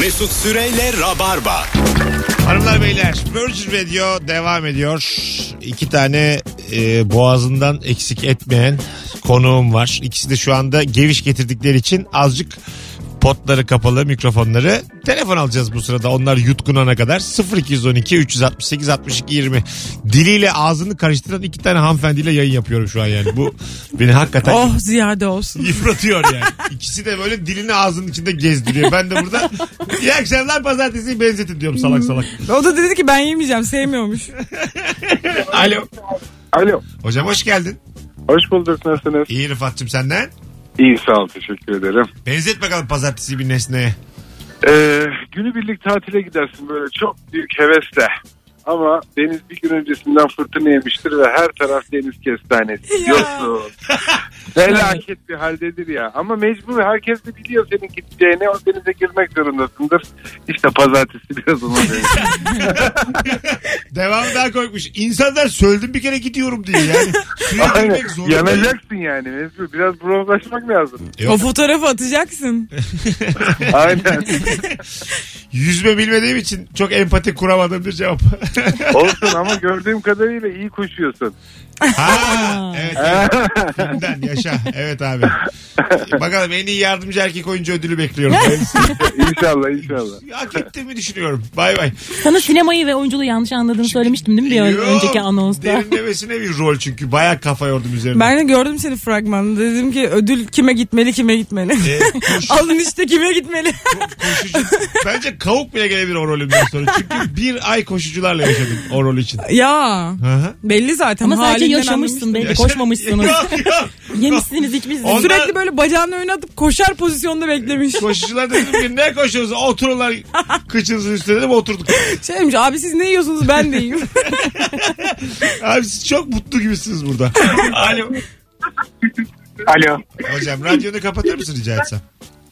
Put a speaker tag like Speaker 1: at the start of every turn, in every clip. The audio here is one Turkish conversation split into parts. Speaker 1: Mesut Süreyle Rabarba.
Speaker 2: Hanımlar beyler Virgin Radio devam ediyor. İki tane e, boğazından eksik etmeyen konuğum var. İkisi de şu anda geviş getirdikleri için azıcık potları kapalı mikrofonları telefon alacağız bu sırada onlar yutkunana kadar 0212 368 62 20 diliyle ağzını karıştıran iki tane hanımefendiyle yayın yapıyorum şu an yani bu beni hakikaten
Speaker 3: Oh ziyade olsun.
Speaker 2: yıpratıyor yani. İkisi de böyle dilini ağzının içinde gezdiriyor. Ben de burada iyi akşamlar pazartesi benzetin diyorum salak salak.
Speaker 3: O da dedi ki ben yemeyeceğim sevmiyormuş.
Speaker 2: Alo.
Speaker 4: Alo.
Speaker 2: Hocam hoş geldin.
Speaker 4: Hoş bulduk. Nasılsınız?
Speaker 2: İyi Rıfat'cığım senden.
Speaker 4: İyi sağ ol. Teşekkür ederim.
Speaker 2: Benzet bakalım pazartesi bir nesneye.
Speaker 4: Ee, günü birlik tatile gidersin böyle çok büyük hevesle. Ama deniz bir gün öncesinden fırtına yemiştir ve her taraf deniz kestanesi.
Speaker 3: Ya.
Speaker 4: Yosun. Felaket bir haldedir ya. Ama mecbur herkes de biliyor senin gideceğini. O denize girmek zorundasındır. İşte pazartesi biraz ona benziyor.
Speaker 2: Devam daha korkmuş. İnsanlar söyledim bir kere gidiyorum diye yani. Suya
Speaker 4: Aynen.
Speaker 2: girmek zorunda.
Speaker 4: Yanacaksın yani mecbur. Biraz bronzlaşmak lazım.
Speaker 3: O
Speaker 2: Yok,
Speaker 3: fotoğrafı atacaksın.
Speaker 4: Aynen.
Speaker 2: yüzme bilmediğim için çok empati kuramadığım bir cevap.
Speaker 4: Olsun ama gördüğüm kadarıyla iyi koşuyorsun.
Speaker 2: ha, evet, evet. Filmden, yaşa. Evet abi. Bakalım en iyi yardımcı erkek oyuncu ödülü bekliyorum.
Speaker 4: inşallah inşallah.
Speaker 2: Hak ettiğimi düşünüyorum. Bay bay.
Speaker 5: Sana sinemayı ve oyunculuğu yanlış anladığını söylemiştim değil mi bir
Speaker 2: Yok,
Speaker 5: önceki anonsta?
Speaker 2: Derinlemesine bir rol çünkü. Baya kafa yordum üzerine.
Speaker 3: Ben de gördüm seni fragmanında. Dedim ki ödül kime gitmeli kime gitmeli.
Speaker 2: Ee, koş-
Speaker 3: Alın işte kime gitmeli.
Speaker 2: koşucu. Bence kavuk bile gelebilir o rolümden sonra. Çünkü bir ay koşucularla yaşadım o rol için.
Speaker 3: ya
Speaker 2: Hı hı.
Speaker 3: belli zaten.
Speaker 5: Ama sadece
Speaker 3: halinden
Speaker 5: yaşamışsın
Speaker 3: anlamıştım.
Speaker 5: belki koşmamışsınız.
Speaker 2: Yok yok.
Speaker 5: Yemişsiniz içmişsiniz.
Speaker 2: On-
Speaker 5: Sürekli
Speaker 3: Sürekli böyle bacağını öne atıp koşar pozisyonda beklemiş.
Speaker 2: Koşucular dedim ki ne koşuyorsunuz? Otururlar kıçınızın üstüne dedim oturduk.
Speaker 3: Şey demiş abi siz ne yiyorsunuz ben de yiyeyim.
Speaker 2: Abi siz çok mutlu gibisiniz burada. Alo.
Speaker 4: Alo.
Speaker 2: Hocam radyonu kapatır mısın rica etsem?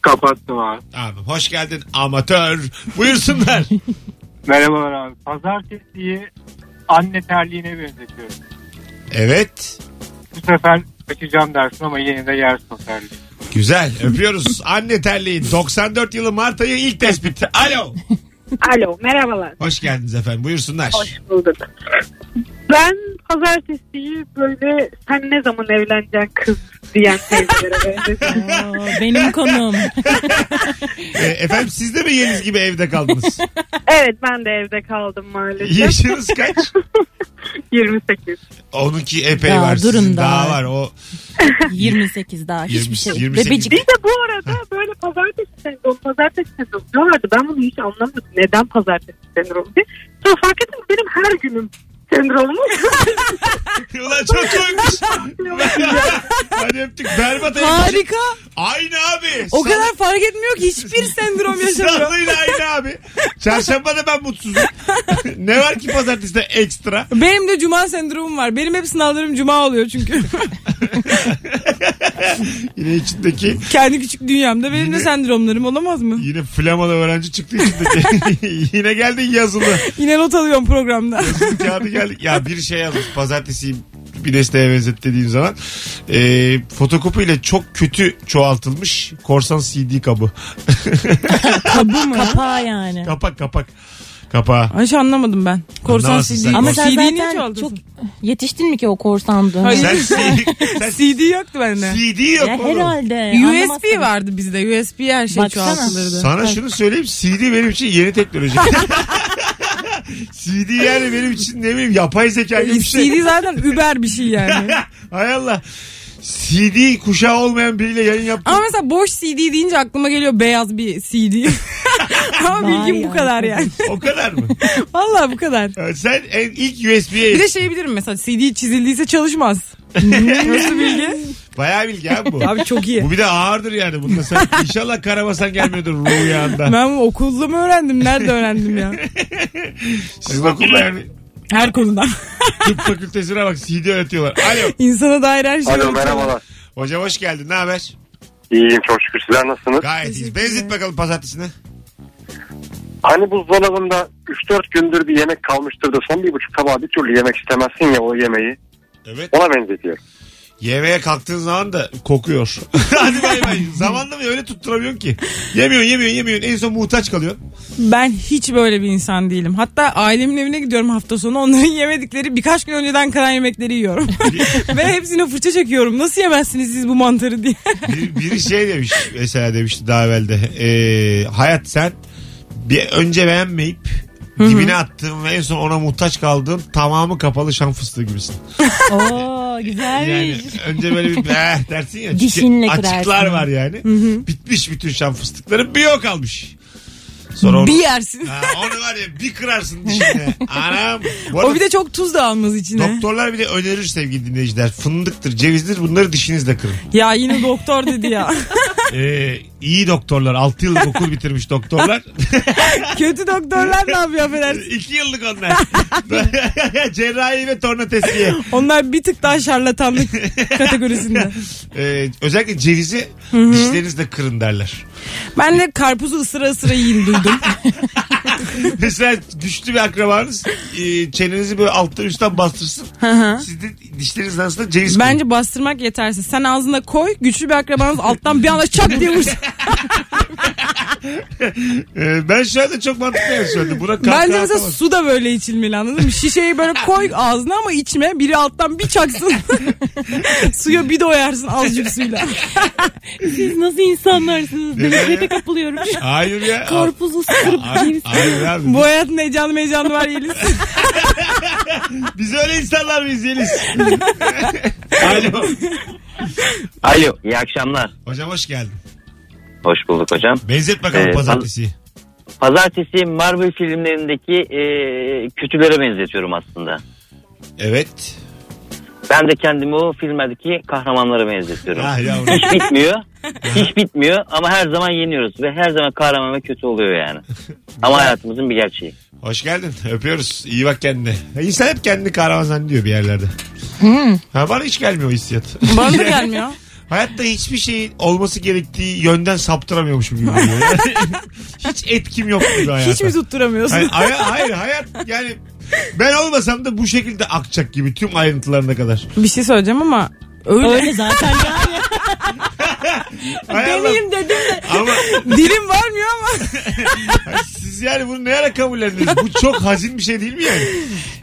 Speaker 4: Kapattım abi.
Speaker 2: Abi hoş geldin amatör. Buyursunlar.
Speaker 6: Merhabalar abi. Pazartesiyi anne terliğine benzetiyorum.
Speaker 2: Evet.
Speaker 6: Bu sefer kaçacağım dersin ama yine de yersin o terliği.
Speaker 2: Güzel öpüyoruz. Anne terliği 94 yılı Mart ayı ilk tespit. Alo.
Speaker 7: Alo merhabalar.
Speaker 2: Hoş geldiniz efendim buyursunlar.
Speaker 7: Hoş bulduk. Ben pazartesiyi böyle sen ne zaman evleneceksin kız diyen teyzelere benzetiyorum.
Speaker 5: Aa, benim konum.
Speaker 2: E, efendim siz de mi Yeliz gibi evde kaldınız?
Speaker 7: evet ben de evde kaldım maalesef.
Speaker 2: Yaşınız kaç?
Speaker 7: 28.
Speaker 2: Onunki epey
Speaker 5: Daha
Speaker 2: var.
Speaker 5: durun
Speaker 2: sizin
Speaker 5: daha.
Speaker 2: daha var. O
Speaker 5: 28 daha hiçbir
Speaker 2: 20
Speaker 5: şey.
Speaker 2: 28.
Speaker 5: Bebecik.
Speaker 7: Bir de bu arada böyle pazartesi sendromu, pazartesi sendromu diyorlardı. Ben bunu hiç anlamadım. Neden pazartesi sendromu diye. Sonra fark ettim ki benim her günüm sendromu.
Speaker 2: Ulan çok koymuş. Hadi öptük. Berbat ayı.
Speaker 3: Harika.
Speaker 2: Aynı abi.
Speaker 3: O kadar fark etmiyor ki hiçbir sendrom yaşamıyor.
Speaker 2: Sağlığıyla aynı abi. Çarşamba da ben mutsuzum. ne var ki pazartesi de ekstra?
Speaker 3: Benim de cuma sendromum var. Benim hep sınavlarım cuma oluyor çünkü.
Speaker 2: Yine içindeki
Speaker 3: Kendi küçük dünyamda benim de sendromlarım olamaz mı?
Speaker 2: yine flamalı öğrenci çıktı içindeki. yine geldi yazılı.
Speaker 3: Yine not alıyorum programda.
Speaker 2: Yazılı kağıdı geldi. Ya bir şey yazmış. Pazartesi bir desteğe benzet dediğim zaman e, fotokopiyle çok kötü çoğaltılmış korsan CD kabı.
Speaker 5: Kabuğu mu? Kapağı yani.
Speaker 2: kapak kapak. Kapağı.
Speaker 3: Ay hiç anlamadım ben. Korsan
Speaker 2: Anlamazsın
Speaker 3: CD.
Speaker 2: sen.
Speaker 5: Ama sen
Speaker 3: CD 'yi niye
Speaker 5: zaten
Speaker 3: çaldın?
Speaker 5: çok yetiştin mi ki o korsan dönemi?
Speaker 3: Hayır.
Speaker 2: Sen, CD sen
Speaker 3: CD yoktu bende.
Speaker 2: CD yok
Speaker 5: Ya
Speaker 2: oğlum.
Speaker 5: herhalde.
Speaker 3: USB
Speaker 5: anlamazsın.
Speaker 3: vardı bizde. USB her şey
Speaker 5: Baksana.
Speaker 3: çoğaltılırdı.
Speaker 2: Sana şunu söyleyeyim CD benim için yeni teknoloji. CD yani benim için ne bileyim yapay zeka gibi bir şey.
Speaker 3: CD zaten über bir şey yani.
Speaker 2: Hay Allah. CD kuşağı olmayan biriyle yayın yaptım.
Speaker 3: Ama mesela boş CD deyince aklıma geliyor beyaz bir CD. Ama
Speaker 5: Vay
Speaker 3: bilgim bu
Speaker 5: ya.
Speaker 3: kadar yani.
Speaker 2: o kadar mı?
Speaker 3: Vallahi bu kadar.
Speaker 2: Ya Sen en ilk USB'ye
Speaker 3: Bir de şey bilirim mesela CD çizildiyse çalışmaz. Nasıl bilgi?
Speaker 2: Bayağı bilgi abi bu.
Speaker 3: Abi çok iyi.
Speaker 2: Bu bir de ağırdır yani. Bunda sen inşallah karabasan gelmiyordur rüyanda.
Speaker 3: Ben bu okulda mı öğrendim? Nerede öğrendim ya?
Speaker 2: Sizin okulda yani
Speaker 3: Her konudan.
Speaker 2: tıp fakültesine bak CD öğretiyorlar. Alo.
Speaker 3: İnsana dair her şey.
Speaker 8: Alo merhabalar.
Speaker 2: Hocam hoş geldin. Ne haber?
Speaker 8: İyiyim çok şükür. Sizler nasılsınız?
Speaker 2: Gayet iyiyiz. Benzet bakalım pazartesine.
Speaker 8: Hani buzdolabında 3-4 gündür bir yemek kalmıştır da son bir buçuk tabağa bir türlü yemek istemezsin ya o yemeği.
Speaker 2: Evet.
Speaker 8: Ona benzetiyorum.
Speaker 2: Yemeğe kalktığın zaman da kokuyor. Hadi bay bay. Zamanla mı öyle tutturamıyorsun ki? Yemiyorsun yemiyorsun yemiyorsun. En son muhtaç kalıyorsun.
Speaker 3: Ben hiç böyle bir insan değilim. Hatta ailemin evine gidiyorum hafta sonu. Onların yemedikleri birkaç gün önceden kalan yemekleri yiyorum. Ve hepsine fırça çekiyorum. Nasıl yemezsiniz siz bu mantarı diye.
Speaker 2: Bir, biri şey demiş mesela demişti daha evvelde. Ee, hayat sen bir önce beğenmeyip dibine attığın ve en son ona muhtaç kaldığın tamamı kapalı şan fıstığı gibisin.
Speaker 5: Oo
Speaker 2: Yani
Speaker 5: güzelmiş.
Speaker 2: önce böyle bir eh dersin ya.
Speaker 5: Dişinle
Speaker 2: çünkü Açıklar
Speaker 5: kırarsın.
Speaker 2: var yani. Bitmiş bütün şan fıstıkları bir o kalmış. Sonra onu,
Speaker 3: Bir yersin.
Speaker 2: Ha, onu var ya bir kırarsın dişine. Anam. Bu arada
Speaker 3: O bir de çok tuz da almaz içine.
Speaker 2: doktorlar bir de önerir sevgili dinleyiciler. Fındıktır, cevizdir bunları dişinizle kırın.
Speaker 3: Ya yine doktor dedi ya.
Speaker 2: Ee, iyi doktorlar 6 yıllık okul bitirmiş doktorlar.
Speaker 3: Kötü doktorlar ne yapıyor affedersin.
Speaker 2: 2 yıllık onlar. Cerrahi ve torna testiye.
Speaker 3: Onlar bir tık daha şarlatanlık kategorisinde.
Speaker 2: Ee, özellikle cevizi dişlerinizle kırın derler.
Speaker 3: Ben de karpuzu ısıra ısıra yiyin duydum.
Speaker 2: Mesela güçlü bir akrabanız e, çenenizi böyle alttan üstten bastırsın. Siz de dişleriniz arasında ceviz koyun.
Speaker 3: Bence bastırmak yetersiz. Sen ağzına koy güçlü bir akrabanız alttan bir anda çat diye vursun.
Speaker 2: Ee, ben şu anda çok mantıklı yani söyledim. Buna kahkaha
Speaker 3: Bence mesela
Speaker 2: atamazsın.
Speaker 3: su da böyle içilmeli anladın mı? Şişeyi böyle koy ağzına ama içme. Biri alttan bir çaksın. Suya bir doyarsın azıcık suyla.
Speaker 5: Siz nasıl insanlarsınız? Nefrete kapılıyorum.
Speaker 2: Hayır ya.
Speaker 5: Karpuz ısırıp
Speaker 2: Ay- Hayır abi.
Speaker 3: Bu hayatın heyecanı meyecanı var Yeliz.
Speaker 2: Biz öyle insanlar mıyız Yeliz? Alo.
Speaker 9: Alo iyi akşamlar.
Speaker 2: Hocam hoş geldin.
Speaker 9: Hoş bulduk hocam.
Speaker 2: Benzet bakalım
Speaker 9: Ee,
Speaker 2: pazartesiyi.
Speaker 9: Pazartesi Marvel filmlerindeki e, kötülere benzetiyorum aslında.
Speaker 2: Evet.
Speaker 9: Ben de kendimi o filmlerdeki kahramanlara benzetiyorum.
Speaker 2: Ah yavrum.
Speaker 9: Hiç bitmiyor. Hiç bitmiyor ama her zaman yeniyoruz ve her zaman kahraman ve kötü oluyor yani. Ama hayatımızın bir gerçeği.
Speaker 2: Hoş geldin. Öpüyoruz. İyi bak kendine. Ya İnsan hep kendini kahraman zannediyor bir yerlerde.
Speaker 3: Hmm.
Speaker 2: Ha, bana hiç gelmiyor o hissiyat.
Speaker 3: Bana da gelmiyor.
Speaker 2: Hayatta hiçbir şeyin olması gerektiği yönden saptıramıyormuşum gibi. geliyor. hiç etkim yok gibi hayata.
Speaker 3: Hiç mi tutturamıyorsun?
Speaker 2: Hayır, hayır, hayır, hayat yani ben olmasam da bu şekilde akacak gibi tüm ayrıntılarına kadar.
Speaker 3: Bir şey söyleyeceğim ama öyle.
Speaker 5: Öyle zaten yani.
Speaker 2: Hay Allah.
Speaker 3: Deneyim dedim de.
Speaker 2: Ama
Speaker 3: Dilim varmıyor ama.
Speaker 2: siz yani bunu ne ara kabullendiniz? Bu çok hazin bir şey değil mi yani?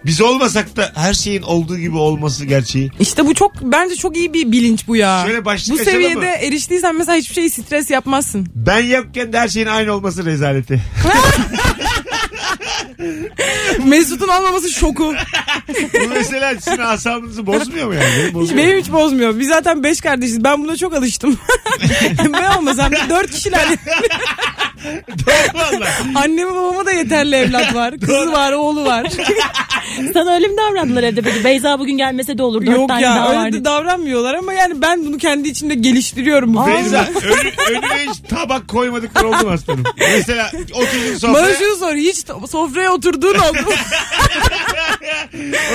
Speaker 2: Biz olmasak da her şeyin olduğu gibi olması gerçeği.
Speaker 3: İşte bu çok bence çok iyi bir bilinç bu ya.
Speaker 2: Şöyle başlık
Speaker 3: bu
Speaker 2: açalım
Speaker 3: seviyede
Speaker 2: mı?
Speaker 3: eriştiysen mesela hiçbir şey stres yapmazsın.
Speaker 2: Ben yokken de her şeyin aynı olması rezaleti.
Speaker 3: Mesut'un olmaması şoku.
Speaker 2: Bu mesela sizin asabınızı bozmuyor mu yani? Benim bozmuyor.
Speaker 3: Benim hiç bozmuyor. Biz zaten beş kardeşiz. Ben buna çok alıştım. ben olmasam bir dört kişiler.
Speaker 2: Vallahi.
Speaker 3: Anneme babama da yeterli evlat var. Kızı var, oğlu var.
Speaker 5: Sana öyle mi davrandılar evde peki? Beyza bugün gelmese de olur. Dört
Speaker 3: Yok
Speaker 5: tane
Speaker 3: ya
Speaker 5: daha
Speaker 3: öyle
Speaker 5: vardı.
Speaker 3: de davranmıyorlar ama yani ben bunu kendi içimde geliştiriyorum. Bu
Speaker 2: Beyza önü, önüme hiç tabak koymadıkları oldu mu aslanım? Mesela oturdun
Speaker 3: Bana
Speaker 2: sofraya.
Speaker 3: şunu sor hiç t- sofraya oturduğun oldu mu?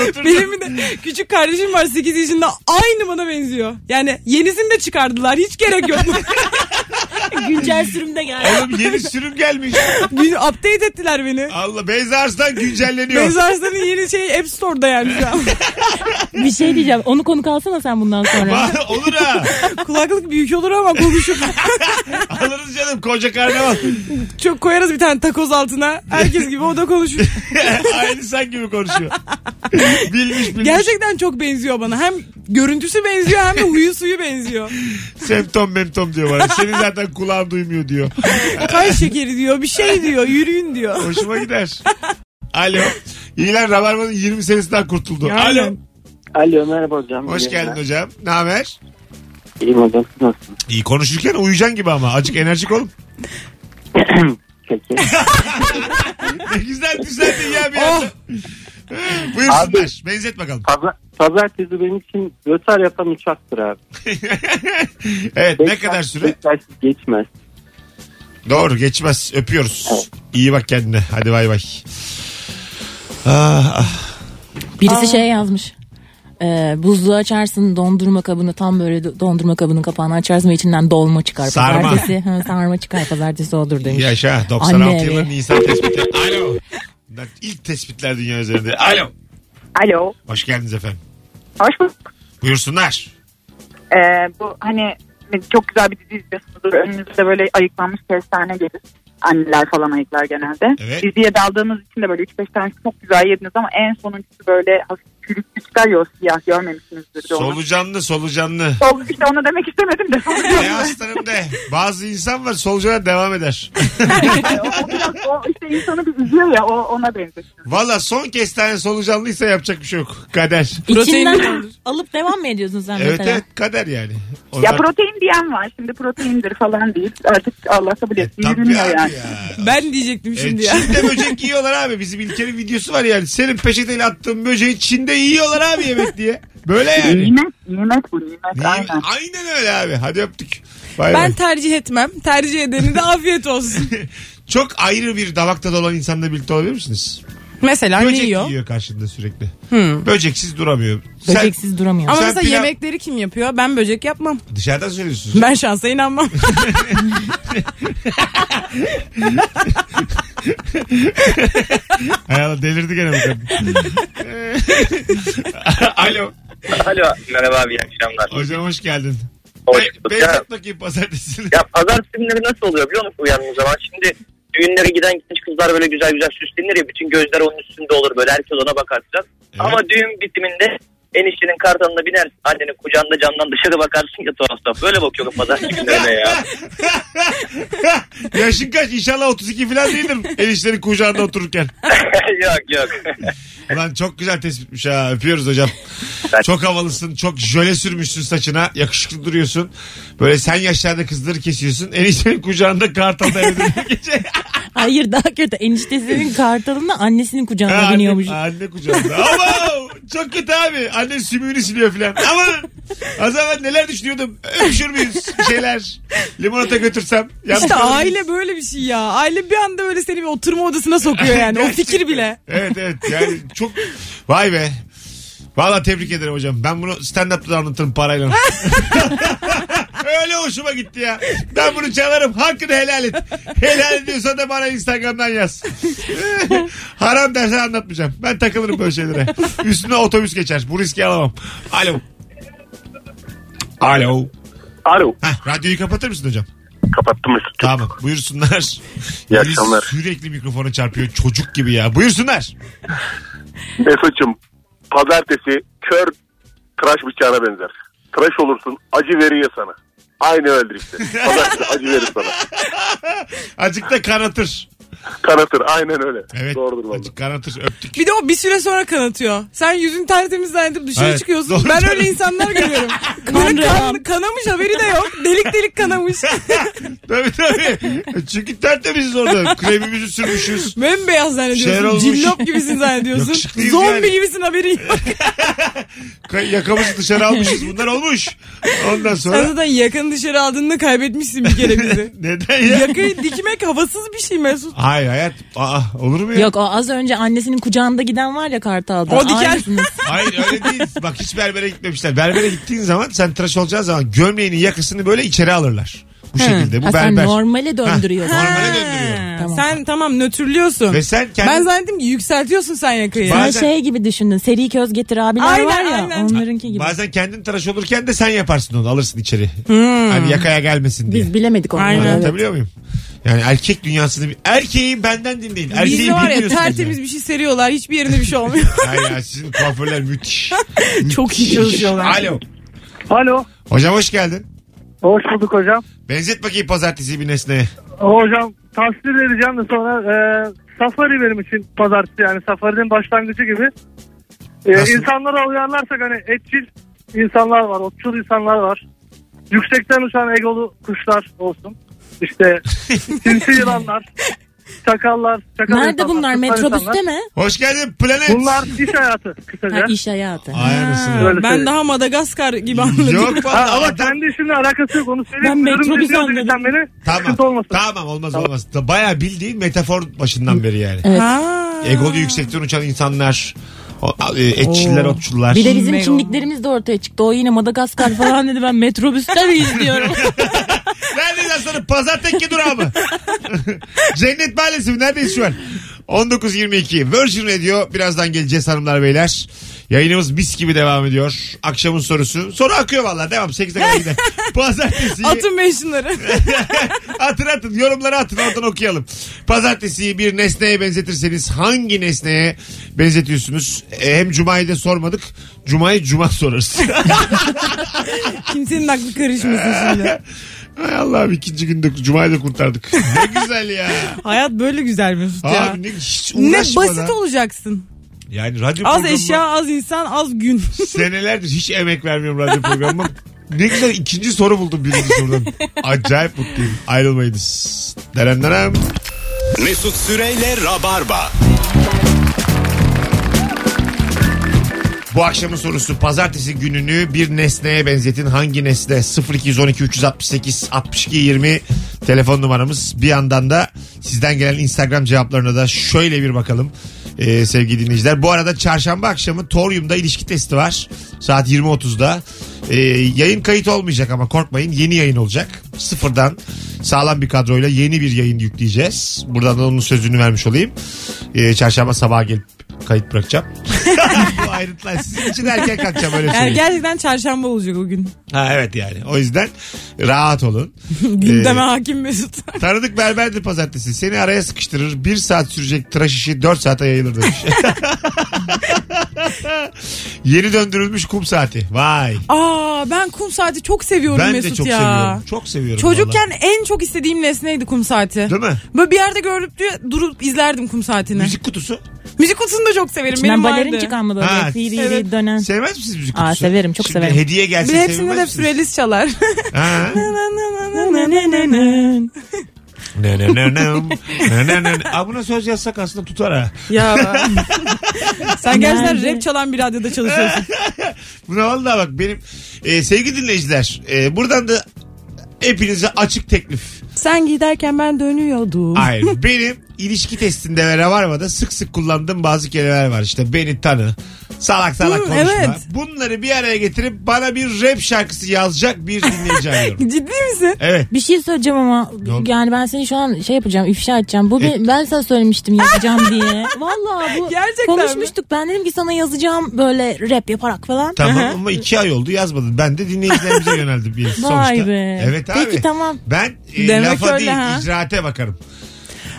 Speaker 2: oturdun.
Speaker 3: Benim bir de küçük kardeşim var 8 yaşında aynı bana benziyor. Yani yenisini de çıkardılar hiç gerek yok.
Speaker 5: Güncel sürümde geldi.
Speaker 2: Oğlum yeni sürüm gelmiş.
Speaker 3: Bir Update ettiler beni.
Speaker 2: Allah Beyza Arslan güncelleniyor.
Speaker 3: Beyza Arslan'ın yeni şeyi App Store'da yani şu an.
Speaker 5: Bir şey diyeceğim. Onu konuk alsana sen bundan sonra.
Speaker 2: Va- Olur ha.
Speaker 3: Kulaklık büyük olur ama konuşur.
Speaker 2: Alırız canım koca karnaval.
Speaker 3: Çok koyarız bir tane takoz altına. Herkes gibi o da konuşur.
Speaker 2: Aynı sen gibi konuşuyor. bilmiş bilmiş.
Speaker 3: Gerçekten çok benziyor bana. Hem görüntüsü benziyor hem de huyu suyu benziyor.
Speaker 2: Semptom memtom diyor bana. Senin zaten kulağın duymuyor diyor.
Speaker 3: Kan şekeri diyor, bir şey diyor, yürüyün diyor.
Speaker 2: Hoşuma gider. Alo. İyiler Rabarba'nın 20 senesinden kurtuldu.
Speaker 3: Aynen.
Speaker 2: Alo.
Speaker 8: Alo merhaba hocam.
Speaker 2: Hoş geldin hocam. Ne haber?
Speaker 8: İyiyim hocam. Nasılsın?
Speaker 2: İyi konuşurken uyuyacaksın gibi ama. Acık enerjik olun.
Speaker 8: Peki.
Speaker 2: Ne güzel düzeldin ya bir
Speaker 3: Oh.
Speaker 2: anda. Buyursunlar. Benzet bakalım.
Speaker 8: Pazar, pazartesi benim için rötar yapan uçaktır abi.
Speaker 2: evet ne
Speaker 8: Beş
Speaker 2: kadar
Speaker 8: saat-
Speaker 2: süre?
Speaker 8: beş saat geçmez.
Speaker 2: Doğru geçmez. Öpüyoruz. İyi bak kendine. Hadi bay bay. Ah, ah.
Speaker 5: Birisi şey yazmış. Ee, buzluğu açarsın dondurma kabını tam böyle do- dondurma kabının kapağını açarsın ve içinden dolma çıkar.
Speaker 2: Sarma.
Speaker 5: Pazartesi, ha, sarma çıkar pazartesi olur demiş.
Speaker 2: Yaşa 96
Speaker 5: Anne
Speaker 2: yılının
Speaker 5: evi.
Speaker 2: Nisan tespiti. Alo. Bunlar İlk tespitler dünya üzerinde. Alo.
Speaker 7: Alo.
Speaker 2: Hoş geldiniz efendim.
Speaker 7: Hoş bulduk.
Speaker 2: Buyursunlar.
Speaker 7: Ee, bu hani çok güzel bir dizi izliyorsunuzdur. Önünüzde böyle ayıklanmış kestane gelir. Anneler falan ayıklar genelde.
Speaker 2: Evet.
Speaker 7: Diziye daldığınız için de böyle 3-5 tane çok güzel yediniz ama en sonuncusu böyle hafif çürüklü çıkar ya o siyah görmemişsinizdir. de onu.
Speaker 2: Solucanlı solucanlı.
Speaker 7: Sol, işte onu demek istemedim de.
Speaker 2: E aslanım de. Bazı insan var solucana devam eder.
Speaker 7: o, biraz, o işte insanı bir üzüyor ya o, ona benzesin.
Speaker 2: Valla son kestane solucanlıysa yapacak bir şey yok. Kader.
Speaker 3: Protein
Speaker 5: İçinden
Speaker 3: olur.
Speaker 5: alıp devam mı ediyorsun sen
Speaker 2: Evet
Speaker 5: mesela?
Speaker 2: evet kader yani.
Speaker 7: Ya
Speaker 2: Onlar-
Speaker 7: protein diyen var şimdi proteindir falan değil. Artık Allah kabul
Speaker 2: E,
Speaker 7: etsin.
Speaker 2: tabii
Speaker 7: Yürümüyor
Speaker 2: abi
Speaker 7: yani.
Speaker 2: ya.
Speaker 3: Ben diyecektim
Speaker 2: E,
Speaker 3: şimdi ya.
Speaker 2: Çin'de böcek yiyorlar abi. Bizim İlker'in videosu var yani. Senin peçeteyle attığın böceği Çin'de yiyorlar abi yemek diye. Böyle yani.
Speaker 7: Nimet, nimet bu nimet
Speaker 2: Niye-
Speaker 7: aynen.
Speaker 2: Aynen öyle abi. Hadi öptük. Bay
Speaker 3: Ben
Speaker 2: bay.
Speaker 3: tercih etmem. Tercih edeni de afiyet olsun.
Speaker 2: Çok ayrı bir damakta dolan insanla birlikte olabilir misiniz?
Speaker 3: Mesela ne
Speaker 2: Böcek
Speaker 3: yiyor?
Speaker 2: yiyor. karşında sürekli. Böceksiz duramıyor. Sen
Speaker 5: Böceksiz duramıyor.
Speaker 3: Ama
Speaker 2: Sen
Speaker 3: mesela
Speaker 2: pilav-
Speaker 3: yemekleri kim yapıyor? Ben böcek yapmam.
Speaker 2: dışarıdan söylüyorsun.
Speaker 3: Ben şansa inanmam.
Speaker 2: Hay Allah delirdi gene bu kadın. Alo.
Speaker 9: Alo merhaba abi iyi akşamlar.
Speaker 2: Hocam hoş geldin.
Speaker 9: Hoş
Speaker 2: Be-
Speaker 9: bulduk. Ya,
Speaker 2: Beyzat bakayım pazartesini.
Speaker 9: ya pazar filmleri nasıl oluyor biliyor musun uyandığın zaman? Şimdi düğünlere giden genç kızlar böyle güzel güzel süslenir ya bütün gözler onun üstünde olur böyle herkes ona bakar falan. Ama düğün bitiminde eniştenin kartanına biner annenin kucağında camdan dışarı bakarsın ya tuhaf tuhaf. Böyle bakıyor pazar günlerine ya.
Speaker 2: Yaşın kaç? İnşallah 32 falan değildir enişlerin kucağında otururken.
Speaker 9: yok yok.
Speaker 2: Ulan çok güzel tespitmiş ha. Öpüyoruz hocam. Çok havalısın. Çok jöle sürmüşsün saçına. Yakışıklı duruyorsun. Böyle sen yaşlarda kızları kesiyorsun. Eniştenin kucağında kartalda evde gece.
Speaker 5: Hayır daha kötü. Eniştesinin kartalını annesinin
Speaker 2: Ha,
Speaker 5: kucağına biniyormuş.
Speaker 2: anne, anne kucağında. Ama çok kötü abi. Anne sümüğünü siliyor filan. Ama o zaman neler düşünüyordum. Öpüşür müyüz? Bir şeyler. Limonata götürsem. Yanlış
Speaker 3: işte
Speaker 2: olur muyuz?
Speaker 3: aile böyle bir şey ya. Aile bir anda böyle seni bir oturma odasına sokuyor yani. O fikir bile.
Speaker 2: Evet evet yani çok vay be. Valla tebrik ederim hocam. Ben bunu stand-up'ta da anlatırım parayla. Öyle hoşuma gitti ya. Ben bunu çalarım. Hakkını helal et. Helal ediyorsan da bana Instagram'dan yaz. Haram dersen anlatmayacağım. Ben takılırım böyle şeylere. Üstüne otobüs geçer. Bu riski alamam. Alo. Alo.
Speaker 8: Alo.
Speaker 2: Heh, radyoyu kapatır mısın hocam?
Speaker 8: Kapattım Mesut.
Speaker 2: Tamam. Buyursunlar.
Speaker 8: İyi akşamlar.
Speaker 2: Sürekli mikrofona çarpıyor çocuk gibi ya. Buyursunlar.
Speaker 8: Mesut'cum pazartesi kör tıraş bıçağına benzer. Tıraş olursun acı veriyor sana. Aynı öldür işte. Pazartesi acı verir sana.
Speaker 2: Azıcık da kanatır.
Speaker 8: Kanatır aynen öyle.
Speaker 2: Evet.
Speaker 8: Doğrudur valla.
Speaker 2: Azıcık kanatır. Öptük.
Speaker 3: Bir de o bir süre sonra kanatıyor. Sen yüzün tertemiz zannedip dışarı
Speaker 2: Evet,
Speaker 3: çıkıyorsun.
Speaker 2: doğru.
Speaker 3: Ben öyle insanlar görüyorum. Böyle kan, kanamış haberi de yok. Delik delik kanamış.
Speaker 2: tabii tabii. Çünkü tertemiziz orada. Kremimizi sürmüşüz.
Speaker 3: Bembeyaz
Speaker 2: Şer
Speaker 3: zannediyorsun.
Speaker 2: olmuş.
Speaker 3: Cillop gibisin zannediyorsun.
Speaker 2: Yakışıklıyız
Speaker 3: Zombi
Speaker 2: yani.
Speaker 3: gibisin haberin yok.
Speaker 2: Ka- Yakamızı dışarı almışız. Bunlar olmuş. Ondan
Speaker 3: Sen
Speaker 2: sonra
Speaker 3: zaten yakanı dışarı aldığında kaybetmişsin bir kere bizi.
Speaker 2: neden ya?
Speaker 3: Yakayı dikmek havasız bir şey Mesut.
Speaker 2: Hayır hayat. Aa, olur mu ya?
Speaker 5: Yok o az önce annesinin kucağında giden var ya kartalda.
Speaker 3: O diken.
Speaker 5: Aynısınız.
Speaker 2: Hayır öyle değil. Bak hiç berbere gitmemişler. Berbere gittiğin zaman sen tıraş olacağın zaman gömleğinin yakasını böyle içeri alırlar. Bu şekilde. Bu
Speaker 5: Ha, sen
Speaker 2: berber.
Speaker 5: normale döndürüyorsun.
Speaker 2: Normale döndürüyorum.
Speaker 3: Ha,
Speaker 5: Tamam.
Speaker 3: Sen tamam nötrlüyorsun.
Speaker 2: Ve sen kendi...
Speaker 3: Ben zannettim ki yükseltiyorsun sen yakayı.
Speaker 5: Sen
Speaker 2: Bazen-
Speaker 5: şey gibi düşündün. Seri köz getir abiler
Speaker 3: Aynen,
Speaker 5: var ya.
Speaker 3: aynen.
Speaker 5: Onlarınki gibi.
Speaker 2: Bazen kendin tıraş olurken de sen yaparsın onu alırsın içeri.
Speaker 3: Hmm.
Speaker 2: Hani yakaya gelmesin diye.
Speaker 5: Biz bilemedik onları.
Speaker 3: Aynen.
Speaker 5: evet.
Speaker 2: Anlatabiliyor muyum? Yani erkek dünyasını bir... Erkeği benden dinleyin. Erkeği
Speaker 3: Bizde var ya
Speaker 2: bilmiyorsunuz
Speaker 3: tertemiz bir şey seriyorlar. Hiçbir yerinde bir şey olmuyor.
Speaker 2: Ay ya sizin kuaförler müthiş.
Speaker 3: Çok iyi çalışıyorlar.
Speaker 2: Alo.
Speaker 6: Alo.
Speaker 2: Hocam hoş geldin.
Speaker 6: Hoş bulduk hocam.
Speaker 2: Benzet bakayım pazartesi bir nesneye.
Speaker 6: Hocam tavsiye vereceğim de sonra e, safari benim için pazartesi yani safarinin başlangıcı gibi. E,
Speaker 2: Nasıl?
Speaker 6: insanlara uyarlarsak hani etçil insanlar var, otçul insanlar var. Yüksekten uçan egolu kuşlar olsun. İşte sinsi yılanlar, çakallar, çakal
Speaker 5: Nerede
Speaker 6: insanlar,
Speaker 5: bunlar?
Speaker 6: kuşlar
Speaker 5: Metrobüste
Speaker 6: insanlar.
Speaker 5: mi?
Speaker 2: Hoş geldin planet.
Speaker 6: Bunlar iş hayatı kısaca.
Speaker 5: Ha, iş hayatı.
Speaker 2: Aynısını.
Speaker 6: Böyle
Speaker 3: Ben
Speaker 6: söyleyeyim.
Speaker 3: daha Madagaskar gibi anladım.
Speaker 2: Yok
Speaker 6: Ha,
Speaker 2: valla
Speaker 6: ama
Speaker 2: adam-
Speaker 6: kendi işimle alakası yok onu söyleyeyim.
Speaker 5: Ben
Speaker 6: Ürün
Speaker 5: metrobüs
Speaker 6: dediğin
Speaker 5: anladım.
Speaker 6: sen beni
Speaker 2: Tamam.
Speaker 6: sıkıntı olmasın.
Speaker 2: Tamam olmaz olmaz. Da- Bayağı bildiğin metafor başından beri yani.
Speaker 3: Ha.
Speaker 2: Egolu yüksekten uçan insanlar. o- e, Etçiller,
Speaker 5: Oo.
Speaker 2: otçular.
Speaker 5: Bir de bizim
Speaker 3: Mega.
Speaker 5: kimliklerimiz de ortaya çıktı. O yine Madagaskar falan dedi. Ben metrobüste miyiz diyorum.
Speaker 2: Neredeyiz aslanım? Pazar tekke durağı mı? Cennet Mahallesi mi? Neredeyiz şu an? 19.22 Virgin Radio. Birazdan geleceğiz hanımlar beyler. Yayınımız mis gibi devam ediyor. Akşamın sorusu. Soru akıyor valla devam. 8'e kadar gider. Pazartesi.
Speaker 3: Atın ben şunları.
Speaker 2: atın atın yorumları atın oradan okuyalım. Pazartesiyi bir nesneye benzetirseniz hangi nesneye benzetiyorsunuz? E, Hem Cuma'yı da sormadık. Cuma'yı Cuma sorarız.
Speaker 3: Kimsenin aklı karışmasın şimdi.
Speaker 2: Hay Allah'ım ikinci günde Cuma'yı da kurtardık. Ne güzel ya.
Speaker 3: Hayat böyle güzel Mesut ya.
Speaker 2: Abi ne, hiç
Speaker 3: ne
Speaker 2: uğraşmadan.
Speaker 3: basit olacaksın.
Speaker 2: Yani radyo
Speaker 3: Az
Speaker 2: programı-
Speaker 3: eşya, az insan, az gün.
Speaker 2: Senelerdir hiç emek vermiyorum radyo programıma. Ne güzel ikinci soru buldum birinci sorudan. Acayip mutluyum. Ayrılmayınız. Deren deren.
Speaker 1: Mesut Süreyle Rabarba.
Speaker 2: Bu akşamın sorusu pazartesi gününü bir nesneye benzetin. Hangi nesne? 0212 368 62 20 telefon numaramız. Bir yandan da sizden gelen Instagram cevaplarına da şöyle bir bakalım. Ee, sevgili dinleyiciler. Bu arada çarşamba akşamı Torium'da ilişki testi var. Saat 20.30'da. Ee, yayın kayıt olmayacak ama korkmayın. Yeni yayın olacak. Sıfırdan sağlam bir kadroyla yeni bir yayın yükleyeceğiz. Buradan da onun sözünü vermiş olayım. Ee, çarşamba sabaha gelip kayıt bırakacağım. Bu ayrıntılar sizin için erken kalkacağım öyle
Speaker 3: Yani
Speaker 2: söyleyeyim.
Speaker 3: gerçekten çarşamba olacak o gün.
Speaker 2: Ha, evet yani. O yüzden rahat olun.
Speaker 3: Gündeme hakim Mesut.
Speaker 2: Tanıdık berberdi pazartesi. Seni araya sıkıştırır. Bir saat sürecek tıraş işi dört saate yayılır demiş. Yeni döndürülmüş kum saati. Vay.
Speaker 3: Aa ben kum saati çok seviyorum
Speaker 2: Ben
Speaker 3: Mesut
Speaker 2: de çok
Speaker 3: ya.
Speaker 2: seviyorum. Çok seviyorum.
Speaker 3: Çocukken en çok istediğim nesneydi kum saati.
Speaker 2: vallahi. Değil mi?
Speaker 3: Böyle bir yerde görüp diye durup izlerdim kum saatini. Müzik,
Speaker 2: Müzik kutusu.
Speaker 3: kutusunu da çok severim.
Speaker 5: İçinden
Speaker 3: Benim
Speaker 5: balerin
Speaker 3: vardı.
Speaker 5: çıkan mı böyle?
Speaker 2: Ha,
Speaker 5: Firi firi
Speaker 3: evet.
Speaker 5: dönen.
Speaker 2: Sevmez misiniz müzik
Speaker 5: Aa,
Speaker 2: kutusu?
Speaker 5: severim, çok
Speaker 2: Şimdi
Speaker 5: severim.
Speaker 2: hediye
Speaker 3: Bir
Speaker 2: gelse
Speaker 3: hepsinde
Speaker 2: sevmez
Speaker 3: de
Speaker 2: misiniz?
Speaker 3: süreliz çalar.
Speaker 2: Ha. Ne ne ne ne. Ne ne ne ne. Aa, buna söz yazsak aslında tutar ha.
Speaker 3: ya ben- sen gerçekten
Speaker 5: Nerede?
Speaker 3: rap çalan bir radyoda çalışıyorsun.
Speaker 2: Buna vallahi bak benim e, sevgili dinleyiciler e, buradan da hepinize açık teklif.
Speaker 3: sen giderken ben dönüyordum.
Speaker 2: Hayır benim ilişki testinde ve Rabarba'da sık sık kullandığım bazı kelimeler var. İşte beni tanı, salak salak
Speaker 3: Hı,
Speaker 2: konuşma.
Speaker 3: evet.
Speaker 2: Bunları bir araya getirip bana bir rap şarkısı yazacak bir dinleyici arıyorum.
Speaker 3: Ciddi misin?
Speaker 2: Evet.
Speaker 5: Bir şey söyleyeceğim ama
Speaker 2: oldu?
Speaker 5: yani ben seni şu an şey yapacağım ifşa edeceğim. Bu
Speaker 2: Eh.
Speaker 5: bir- ben sana söylemiştim yazacağım diye. Vallahi bu
Speaker 3: Gerçekten
Speaker 5: konuşmuştuk. Ben dedim ki sana yazacağım böyle rap yaparak falan.
Speaker 2: Tamam ama iki ay oldu yazmadın. Ben de dinleyicilerimize yöneldim bir sonuçta.
Speaker 5: Vay be.
Speaker 2: Evet abi.
Speaker 5: Peki tamam.
Speaker 2: Ben e,
Speaker 3: Demek
Speaker 2: lafa
Speaker 3: öyle
Speaker 2: değil
Speaker 3: ha.
Speaker 2: icraate bakarım.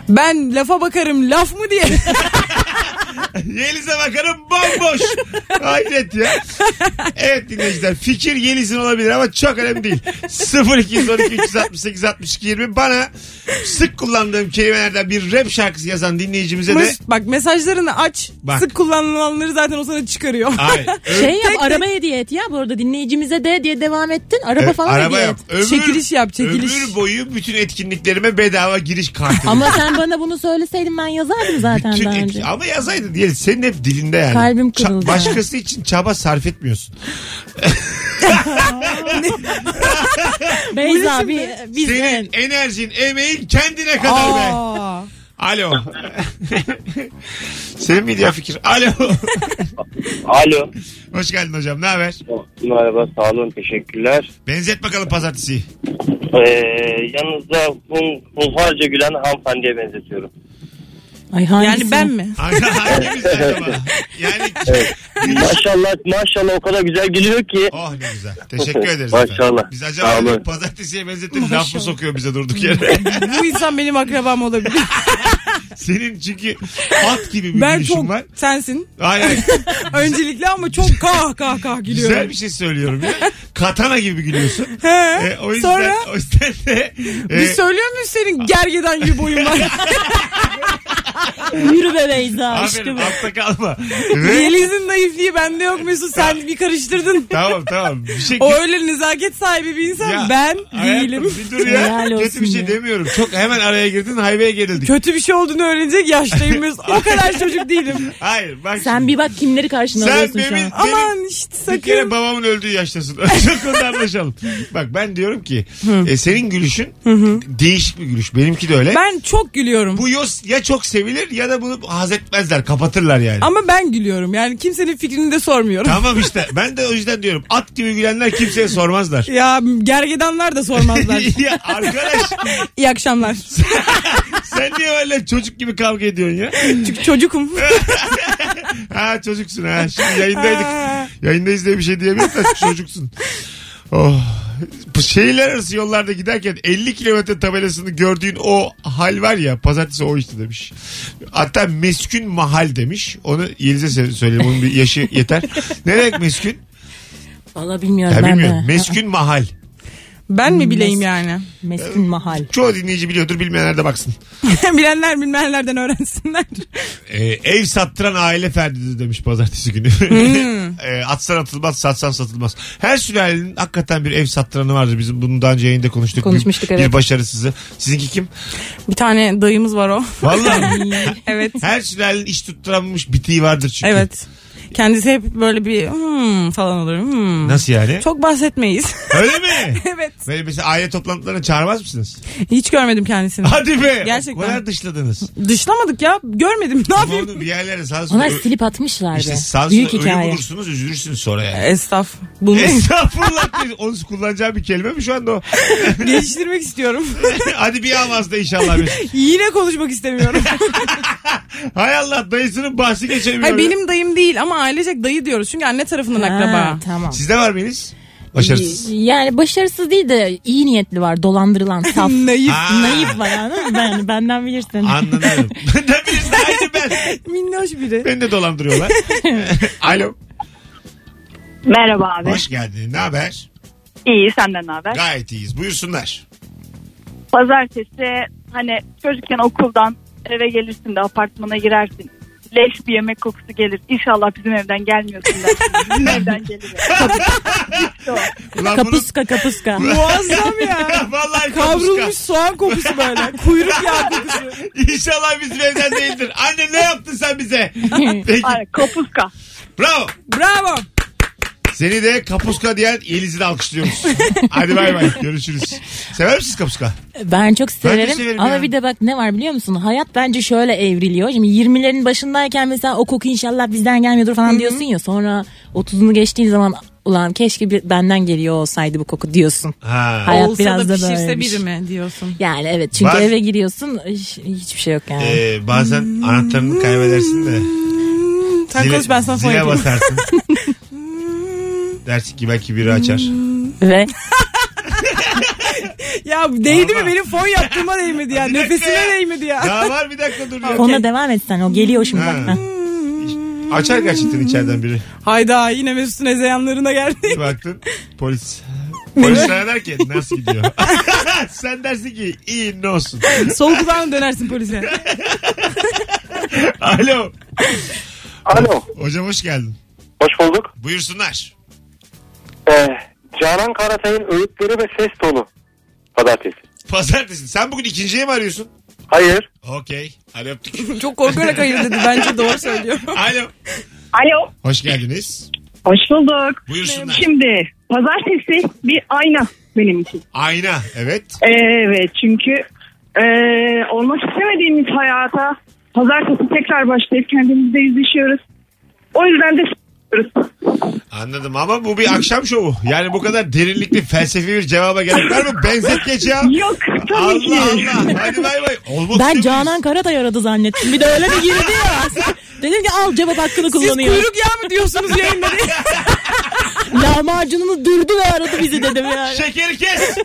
Speaker 3: Ben lafa bakarım laf mı diye.
Speaker 2: Yeliz'e bakarım bomboş. Hayret ya. Evet dinleyiciler fikir Yeliz'in olabilir ama çok önemli değil. 0212 368 62 20 bana sık kullandığım kelimelerden bir rap şarkısı yazan dinleyicimize de
Speaker 3: Mesut, bak mesajlarını aç.
Speaker 2: Bak.
Speaker 3: Sık kullanılanları zaten o sana çıkarıyor.
Speaker 2: Hayır. Ö-
Speaker 5: Şey yap araba hediye et ya bu arada dinleyicimize de diye devam ettin. Araba falan
Speaker 2: araba
Speaker 5: hediye
Speaker 2: yap.
Speaker 5: et.
Speaker 2: Ömür,
Speaker 3: Çekiliş yap, çekiliş.
Speaker 2: Ömür boyu bütün etkinliklerime bedava giriş kartı.
Speaker 5: Ama sen bana bunu söyleseydin ben yazardım zaten
Speaker 2: Bütün
Speaker 5: daha
Speaker 2: etki-
Speaker 5: önce.
Speaker 2: ama yazaydı diye senin hep dilinde yani.
Speaker 5: Kalbim
Speaker 2: Ça-
Speaker 5: kırıldı.
Speaker 2: başkası için çaba sarf etmiyorsun.
Speaker 5: Beyza bir biz
Speaker 2: senin
Speaker 5: evet.
Speaker 2: enerjin, emeğin kendine kadar be.
Speaker 3: Aa.
Speaker 2: Alo. Senin miydi ya fikir? Alo.
Speaker 9: Alo.
Speaker 2: Hoş geldin hocam. Ne haber?
Speaker 9: Merhaba sağ olun teşekkürler.
Speaker 2: Benzet bakalım pazartesiyi.
Speaker 9: Ee, yanınızda hun, hunharca gülen hanımefendiye benzetiyorum.
Speaker 5: Ay hangisi?
Speaker 3: Yani ben mi?
Speaker 2: Hangi- Hangimiz acaba? Yani
Speaker 9: Maşallah maşallah o kadar güzel geliyor ki.
Speaker 2: Oh ne güzel. Teşekkür ederiz efendim.
Speaker 9: Maşallah.
Speaker 2: Biz
Speaker 9: Sağ
Speaker 2: acaba
Speaker 9: olun.
Speaker 2: pazartesiye benzettin laf mı sokuyor bize durduk yere?
Speaker 3: Bu insan benim akrabam olabilir.
Speaker 2: Senin çünkü at gibi bir
Speaker 3: ben
Speaker 2: gülüşün
Speaker 3: çok
Speaker 2: var.
Speaker 3: sensin.
Speaker 2: Aynen.
Speaker 3: Öncelikle ama çok kah kah kah gülüyorum.
Speaker 2: Güzel bir şey söylüyorum ya. Katana gibi gülüyorsun.
Speaker 3: He.
Speaker 2: E, o yüzden,
Speaker 3: Sonra?
Speaker 2: o yüzden de e,
Speaker 3: Biz söylüyor muyuz senin gergedan gibi boyun var?
Speaker 5: Yürü be Beyza
Speaker 2: aferin
Speaker 5: aşkım.
Speaker 2: altta kalma. Ve,
Speaker 3: Yeliz'in naifliği bende yok Mesut
Speaker 2: E.
Speaker 3: sen bir karıştırdın.
Speaker 2: tamam tamam. Bir şey
Speaker 3: O öyle nezaket sahibi bir insan
Speaker 2: Ya,
Speaker 3: ben
Speaker 2: hayatım,
Speaker 3: değilim.
Speaker 2: Bir dur ya.
Speaker 5: Helal
Speaker 2: Kötü
Speaker 5: olsun
Speaker 2: bir şey
Speaker 5: ya.
Speaker 2: demiyorum. Çok hemen araya girdin hayveye gerildik.
Speaker 3: Kötü bir şey olduğunu öğrenecek yaştayım Mesut. O kadar çocuk değilim.
Speaker 2: Hayır bak
Speaker 5: Sen
Speaker 2: şimdi.
Speaker 5: bir bak kimleri karşına
Speaker 2: Sen
Speaker 5: alıyorsun şu
Speaker 2: benim-
Speaker 5: an.
Speaker 3: Aman işte
Speaker 2: Bir kere
Speaker 3: sakın.
Speaker 2: babamın öldüğü yaştasın. Çok konuda anlaşalım. Bak ben diyorum ki e, senin gülüşün değişik bir gülüş. Benimki de öyle.
Speaker 3: Ben çok gülüyorum.
Speaker 2: Bu yos ya çok sevilir ya da bunu haz etmezler. Kapatırlar yani.
Speaker 3: Ama ben gülüyorum. Yani kimsenin fikrini de sormuyorum.
Speaker 2: Tamam işte. Ben de o yüzden diyorum. At gibi gülenler kimseye sormazlar.
Speaker 3: Ya gergedanlar da sormazlar.
Speaker 2: ya arkadaş
Speaker 3: İyi akşamlar.
Speaker 2: sen niye öyle çocuk gibi kavga ediyorsun ya?
Speaker 3: Çünkü çocukum.
Speaker 2: Ha çocuksun ha. Şimdi yayındaydık. Yayındayız diye bir şey diyemiyorum da çocuksun. Oh. Şehirler arası yollarda giderken 50 kilometre tabelasını gördüğün o hal var ya pazartesi o işte demiş. Hatta meskün mahal demiş. Onu Yeliz'e söyleyeyim. Onun bir yaşı yeter. Ne demek meskün?
Speaker 5: Valla bilmiyorum
Speaker 2: Ya
Speaker 5: ben
Speaker 2: bilmiyorum.
Speaker 5: de.
Speaker 2: Meskün mahal.
Speaker 3: Ben mi bileyim
Speaker 5: Mes-
Speaker 3: yani?
Speaker 5: Meskun mahal.
Speaker 2: Çoğu dinleyici biliyordur bilmeyenler de baksın.
Speaker 3: Bilenler bilmeyenlerden öğrensinler.
Speaker 2: Ee, ev sattıran aile ferdidir demiş pazartesi günü.
Speaker 3: Hmm.
Speaker 2: Ee, atsan atılmaz, satsan satılmaz. Her sülalenin hakikaten bir ev sattıranı vardır. Bizim bunu daha önce yayında konuştuk.
Speaker 5: Konuşmuştuk,
Speaker 2: bir,
Speaker 5: evet.
Speaker 2: Bir başarısızı. Sizinki kim?
Speaker 3: Bir tane dayımız var o.
Speaker 2: Vallahi.
Speaker 3: evet.
Speaker 2: Her sülalenin iş tutturamamış bitiği vardır çünkü.
Speaker 3: Evet. Kendisi hep böyle bir hmm falan olur. Hmm.
Speaker 2: Nasıl yani?
Speaker 3: Çok bahsetmeyiz.
Speaker 2: Öyle mi?
Speaker 3: evet.
Speaker 2: Böyle mesela aile toplantılarına çağırmaz mısınız?
Speaker 3: Hiç görmedim kendisini.
Speaker 2: Hadi be. O
Speaker 3: Gerçekten.
Speaker 2: kadar dışladınız.
Speaker 3: Dışlamadık ya. Görmedim. Ne
Speaker 2: Ama
Speaker 3: yapayım?
Speaker 2: onu bir yerlere sansür.
Speaker 5: Onlar silip atmışlar
Speaker 2: İşte
Speaker 5: be.
Speaker 2: sansür
Speaker 5: Büyük
Speaker 2: ölü
Speaker 5: hikaye.
Speaker 2: bulursunuz üzülürsünüz sonra yani.
Speaker 3: Estağf. Bunu
Speaker 2: Estağfurullah. değil. Onu kullanacağım bir kelime mi şu anda o?
Speaker 3: geliştirmek istiyorum.
Speaker 2: Hadi bir avazda inşallah. Mesut.
Speaker 3: Yine konuşmak istemiyorum.
Speaker 2: Hay Allah dayısının bahsi geçemiyor.
Speaker 3: Hayır, benim dayım değil ama ailecek dayı diyoruz. Çünkü anne tarafından
Speaker 5: Ha,
Speaker 3: akraba.
Speaker 5: Tamam.
Speaker 2: Sizde var mıyız? Başarısız.
Speaker 5: Yani başarısız değil de iyi niyetli var. Dolandırılan saf.
Speaker 3: Naif.
Speaker 2: Aa.
Speaker 5: Naif var yani. Ben, benden bilirsin.
Speaker 2: Anladım. Benden birisi de aynı ben.
Speaker 3: Minnoş biri.
Speaker 2: Beni de dolandırıyorlar. Alo.
Speaker 7: Merhaba abi.
Speaker 2: Hoş geldin. Ne haber?
Speaker 7: İyi senden ne haber?
Speaker 2: Gayet iyiyiz. Buyursunlar.
Speaker 7: Pazartesi hani çocukken okuldan eve gelirsin de apartmana girersin. Leş bir yemek kokusu gelir. İnşallah bizim evden gelmiyorsun dersin. Bizim evden gelir.
Speaker 2: Ulan bunun-
Speaker 5: Kapuska kapuska.
Speaker 3: Muazzam ya.
Speaker 2: Vallahi kavrulmuş.
Speaker 3: Kavrulmuş soğan kokusu böyle. Kuyruk yağı kokusu.
Speaker 2: İnşallah bizim evden değildir. Anne ne yaptın sen bize? Peki.
Speaker 7: Aynen, kapuska.
Speaker 2: Bravo.
Speaker 3: Bravo.
Speaker 2: Seni de kapuska diyen Yeliz'i de alkışlıyoruz. Hadi bay bay. Görüşürüz. Sever misiniz kapuska?
Speaker 5: Ben çok severim.
Speaker 2: severim
Speaker 5: Ama
Speaker 2: ya.
Speaker 5: bir de bak ne var biliyor musun? Hayat bence şöyle evriliyor. Şimdi 20'lerin başındayken mesela o koku inşallah bizden gelmiyordur falan diyorsun ya. Sonra 30'unu geçtiğin zaman ulan keşke bir benden geliyor olsaydı bu koku diyorsun.
Speaker 2: Ha.
Speaker 5: Hayat
Speaker 3: Olsa
Speaker 5: biraz
Speaker 3: da
Speaker 5: da
Speaker 3: pişirse
Speaker 5: böyleymiş.
Speaker 3: biri mi diyorsun.
Speaker 5: Yani evet çünkü
Speaker 2: Baz-
Speaker 5: eve giriyorsun hiç- hiçbir şey yok yani.
Speaker 2: Ee, bazen anahtarını kaybedersin de.
Speaker 3: Sen konuş ben sana
Speaker 2: zile
Speaker 3: sonra yapayım.
Speaker 2: basarsın. Dersin ki belki biri açar.
Speaker 5: Ve
Speaker 3: Ya değdi
Speaker 2: Vallahi.
Speaker 3: mi benim fon yaptığıma değmedi ya.
Speaker 2: Bir dakika
Speaker 3: Nefesime
Speaker 2: ya.
Speaker 3: değmedi ya.
Speaker 2: Daha var bir dakika dur. ya.
Speaker 5: ona devam etsen o geliyor şimdi.
Speaker 2: Ha.
Speaker 5: bak. Ha.
Speaker 2: Açar gerçekten içeriden biri.
Speaker 3: Hayda yine Mesut'un ezeyanlarına geldi.
Speaker 2: Bir baktın polis. Polis sana der ki nasıl gidiyor? Sen dersin ki iyi ne olsun.
Speaker 3: Sol kulağına dönersin polise.
Speaker 2: Alo.
Speaker 8: Alo.
Speaker 2: Hocam hoş geldin.
Speaker 8: Hoş bulduk.
Speaker 2: Buyursunlar.
Speaker 8: Ee, Canan Karatay'ın öğütleri ve ses tonu. Pazartesi.
Speaker 2: Pazartesi. Sen bugün ikinciye mi arıyorsun?
Speaker 8: Hayır.
Speaker 2: Okey. Hadi öptük.
Speaker 3: Çok korkarak hayır dedi. Bence doğru söylüyor.
Speaker 2: Alo.
Speaker 7: Alo.
Speaker 2: Hoş geldiniz.
Speaker 7: Hoş bulduk.
Speaker 2: Buyursunlar.
Speaker 7: Şimdi pazartesi bir ayna benim için.
Speaker 2: Ayna. Evet.
Speaker 7: Evet çünkü e, olmak istemediğimiz hayata pazartesi tekrar başlayıp kendimizle yüzleşiyoruz. O yüzden de s**yoruz.
Speaker 2: Anladım ama bu bir akşam şovu. Yani bu kadar derinlikli felsefi bir cevaba gerek var mı? Benzet geç ya.
Speaker 7: Yok tabii ki.
Speaker 2: Allah Allah. Hadi bay bay. Olmak
Speaker 5: Ben
Speaker 2: istemeyiz.
Speaker 5: Canan Karatay aradı zannettim. Bir de öyle bir girdi ya. Dedim ki al cevap
Speaker 3: Siz
Speaker 5: hakkını kullanıyor.
Speaker 3: kuyruk yağı mı diyorsunuz yayında diye.
Speaker 5: Lahmacununu dürdü ve aradı bizi dedim yani.
Speaker 2: Şekeri kes.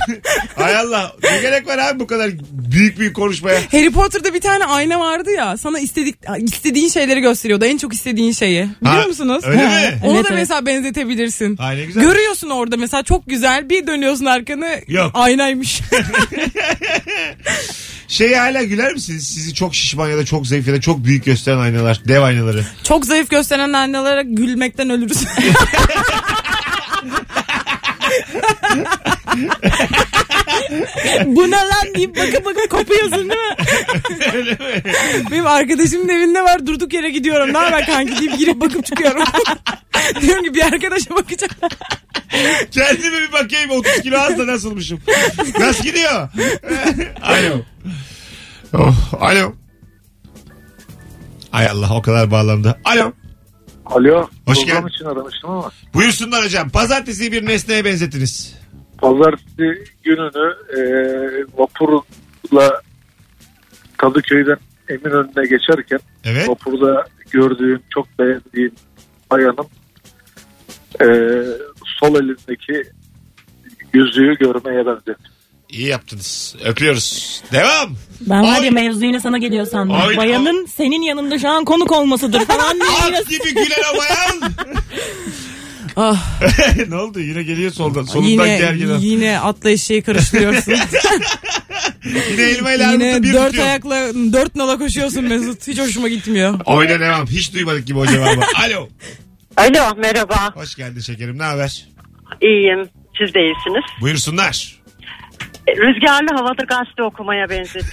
Speaker 2: Hay Allah. Ne gerek var abi bu kadar büyük büyük konuşmaya?
Speaker 3: Harry Potter'da bir tane ayna vardı ya. Sana istedik istediğin şeyleri gösteriyordu. En çok istediğin şeyi. Biliyor
Speaker 2: Ha,
Speaker 3: musunuz?
Speaker 2: öyle mi?
Speaker 3: Onu
Speaker 5: Evet,
Speaker 3: da
Speaker 5: evet.
Speaker 3: mesela benzetebilirsin.
Speaker 2: Ha, ne güzel.
Speaker 3: Görüyorsun orada mesela çok güzel. Bir dönüyorsun arkanı
Speaker 2: Yok.
Speaker 3: aynaymış.
Speaker 2: Şeye hala güler misiniz? Sizi çok şişman ya da çok zayıf ya da çok büyük gösteren aynalar. Dev aynaları.
Speaker 3: çok zayıf gösteren aynalara gülmekten ölürüz.
Speaker 5: Bu ne lan deyip bakıp bakıp kopuyorsun değil mi?
Speaker 3: Benim arkadaşımın evinde var durduk yere gidiyorum. Ne haber kanki deyip girip bakıp çıkıyorum. Diyorum ki bir arkadaşa bakacağım.
Speaker 2: Kendime bir bakayım 30 kilo az da nasılmışım. Nasıl gidiyor? Alo. Oh, alo. Ay Allah o kadar bağlandı. Alo.
Speaker 4: Alo.
Speaker 2: Hoş
Speaker 4: program
Speaker 2: geldin.
Speaker 4: için aramıştım ama.
Speaker 2: Buyursunlar hocam. Pazartesi bir nesneye benzetiniz.
Speaker 4: Pazartesi gününü e, vapurla Kadıköy'den Eminönü'ne geçerken
Speaker 2: Evet.
Speaker 4: vapurda gördüğüm, çok beğendiğim bayanın e, sol elindeki yüzüğü görmeye benzetti.
Speaker 2: İyi yaptınız. Öpüyoruz. Devam.
Speaker 5: Ben var
Speaker 2: Oy.
Speaker 5: ya mevzu yine sana geliyor sandım.
Speaker 2: Oy.
Speaker 5: Bayanın senin yanında şu an konuk olmasıdır falan. diye yine-
Speaker 2: At gibi gülen o bayan.
Speaker 3: Ah,
Speaker 2: ne oldu? Yine geliyor soldan. Solundan
Speaker 3: yine,
Speaker 2: gergin. Yine,
Speaker 3: yine atla eşeği karıştırıyorsun.
Speaker 2: yine elma ile armutla
Speaker 3: yine
Speaker 2: bir
Speaker 3: dört
Speaker 2: tutuyor.
Speaker 3: ayakla dört nala koşuyorsun Mesut. Hiç hoşuma gitmiyor.
Speaker 2: Oyna devam. Hiç duymadık gibi o cevabı. Alo.
Speaker 10: Alo merhaba.
Speaker 2: Hoş geldin şekerim. Ne haber?
Speaker 10: İyiyim. Siz de iyisiniz.
Speaker 2: Buyursunlar.
Speaker 10: E, Rüzgarlı havada gazete okumaya benzetti.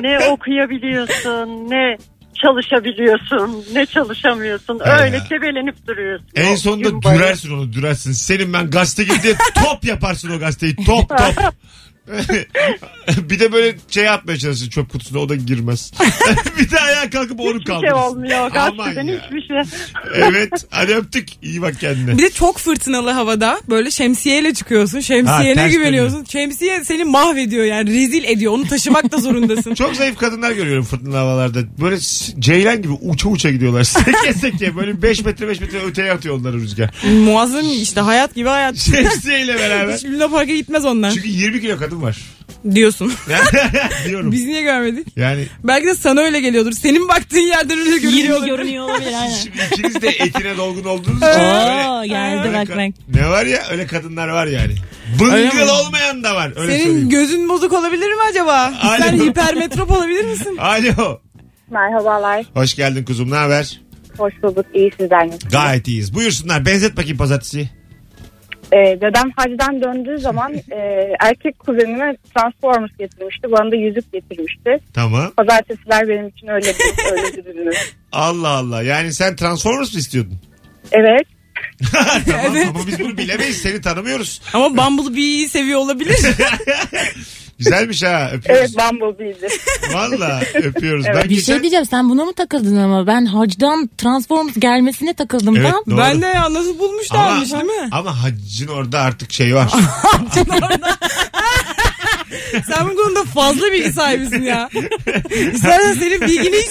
Speaker 10: ne okuyabiliyorsun ne çalışabiliyorsun ne çalışamıyorsun.
Speaker 2: He
Speaker 10: Öyle
Speaker 2: ya.
Speaker 10: tebelenip duruyorsun.
Speaker 2: En
Speaker 10: O
Speaker 2: sonunda
Speaker 10: gün bayıl-
Speaker 2: dürersin onu dürersin. Senin ben gazete gibi diye top yaparsın o gazeteyi. Top top. bir de böyle şey atmaya çalışırsın çöp kutusuna o da girmez. bir de ayağa kalkıp onu
Speaker 10: Hiçbir şey
Speaker 2: kaldırırsın.
Speaker 10: olmuyor.
Speaker 2: Aman
Speaker 10: Gazeteden
Speaker 2: ya.
Speaker 10: hiçbir şey.
Speaker 2: Evet hadi öptük. İyi bak kendine.
Speaker 3: Bir de çok fırtınalı havada böyle şemsiyeyle çıkıyorsun. Şemsiyene
Speaker 2: ters
Speaker 3: güveniyorsun. Şemsiye seni mahvediyor yani rezil ediyor. Onu taşımak da zorundasın.
Speaker 2: Çok zayıf kadınlar görüyorum fırtınalı havalarda. Böyle s- ceylan gibi uça uça gidiyorlar. Seke seke böyle 5 metre 5 metre öteye atıyor onları rüzgar.
Speaker 3: Muazzam işte hayat gibi hayat.
Speaker 2: Şemsiyeyle beraber.
Speaker 3: Hiç Luna Park'a gitmez onlar
Speaker 2: Çünkü 20 kilo kadın var.
Speaker 3: diyorsun.
Speaker 2: Diyorum.
Speaker 3: Biz niye görmedik?
Speaker 2: Yani
Speaker 3: Belki de sana öyle geliyordur. Senin baktığın yerden öyle görünüyor.
Speaker 5: 20
Speaker 3: olabilir.
Speaker 5: görünüyor olabilir aynen.
Speaker 2: şimdi ikiniz de etine dolgun olduğunuz için.
Speaker 5: Oo
Speaker 2: öyle-
Speaker 5: geldi
Speaker 2: öyle
Speaker 5: bak
Speaker 2: ka-
Speaker 5: bak.
Speaker 2: Ne var ya öyle kadınlar var yani.
Speaker 3: Öyle
Speaker 2: Bıngıl
Speaker 3: mi?
Speaker 2: olmayan da var. Öyle
Speaker 3: Senin
Speaker 2: söyleyeyim.
Speaker 3: gözün bozuk olabilir mi acaba?
Speaker 2: Alo.
Speaker 3: Sen hipermetrop olabilir misin?
Speaker 2: Alo.
Speaker 7: Merhabalar.
Speaker 2: Hoş geldin kuzum ne haber?
Speaker 7: Hoş bulduk. İyi sizden.
Speaker 2: Gayet iyiyiz. Buyursunlar benzet bakayım pazartesiyi.
Speaker 7: Ee, dedem hacdan döndüğü zaman e, erkek kuzenime Transformers getirmişti. Bana da yüzük getirmişti.
Speaker 2: Tamam.
Speaker 7: Pazartesiler benim için öyle bir öyle bir ürünü.
Speaker 2: Allah Allah. Yani sen Transformers mı istiyordun?
Speaker 7: Evet.
Speaker 2: tamam
Speaker 3: Evet.
Speaker 2: ama biz bunu bilemeyiz. Seni tanımıyoruz.
Speaker 3: Ama Bumblebee'yi seviyor olabilir.
Speaker 2: Güzelmiş ha. Öpüyoruz.
Speaker 7: Evet Bumblebee'ydi.
Speaker 2: Valla öpüyoruz. ben
Speaker 5: Bir
Speaker 2: geçen...
Speaker 5: şey diyeceğim sen buna mı takıldın ama ben hacdan Transformers gelmesine takıldım
Speaker 2: Evet,
Speaker 5: ben.
Speaker 2: doğru.
Speaker 3: Ben de ya nasıl bulmuşlarmış
Speaker 2: ama,
Speaker 3: değil mi?
Speaker 2: ama haccın orada artık şey var.
Speaker 3: Sen bu konuda fazla bilgi sahibisin ya. İstersen senin bilgini hiç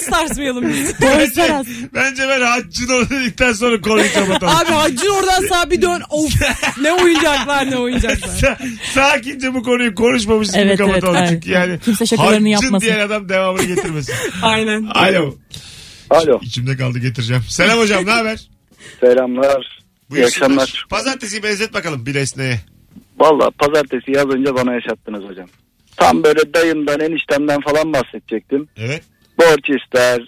Speaker 3: sarsmayalım biz.
Speaker 2: bence, bence ben haccın orada dedikten sonra konuyu kapatalım.
Speaker 3: Abi hacın oradan sağa bir dön. Of ne oyuncaklar ne oyuncaklar.
Speaker 2: Sa- sakince bu konuyu konuşmamışız gibi
Speaker 5: Evet, evet,
Speaker 2: kapatalım.
Speaker 5: evet.
Speaker 2: Çünkü yani
Speaker 5: Kimse şakalarını
Speaker 2: haccın
Speaker 5: yapmasın.
Speaker 2: diyen adam devamını getirmesin.
Speaker 3: Aynen.
Speaker 2: Alo.
Speaker 4: Alo.
Speaker 2: İçimde kaldı getireceğim. Selam hocam ne haber?
Speaker 4: Selamlar. İyi
Speaker 2: Buyursunlar.
Speaker 4: akşamlar.
Speaker 2: Pazartesi benzet bakalım bir esneye.
Speaker 4: Valla pazartesi yaz önce bana yaşattınız hocam. Tam böyle dayımdan eniştemden falan bahsedecektim.
Speaker 2: Evet.
Speaker 4: Borç ister,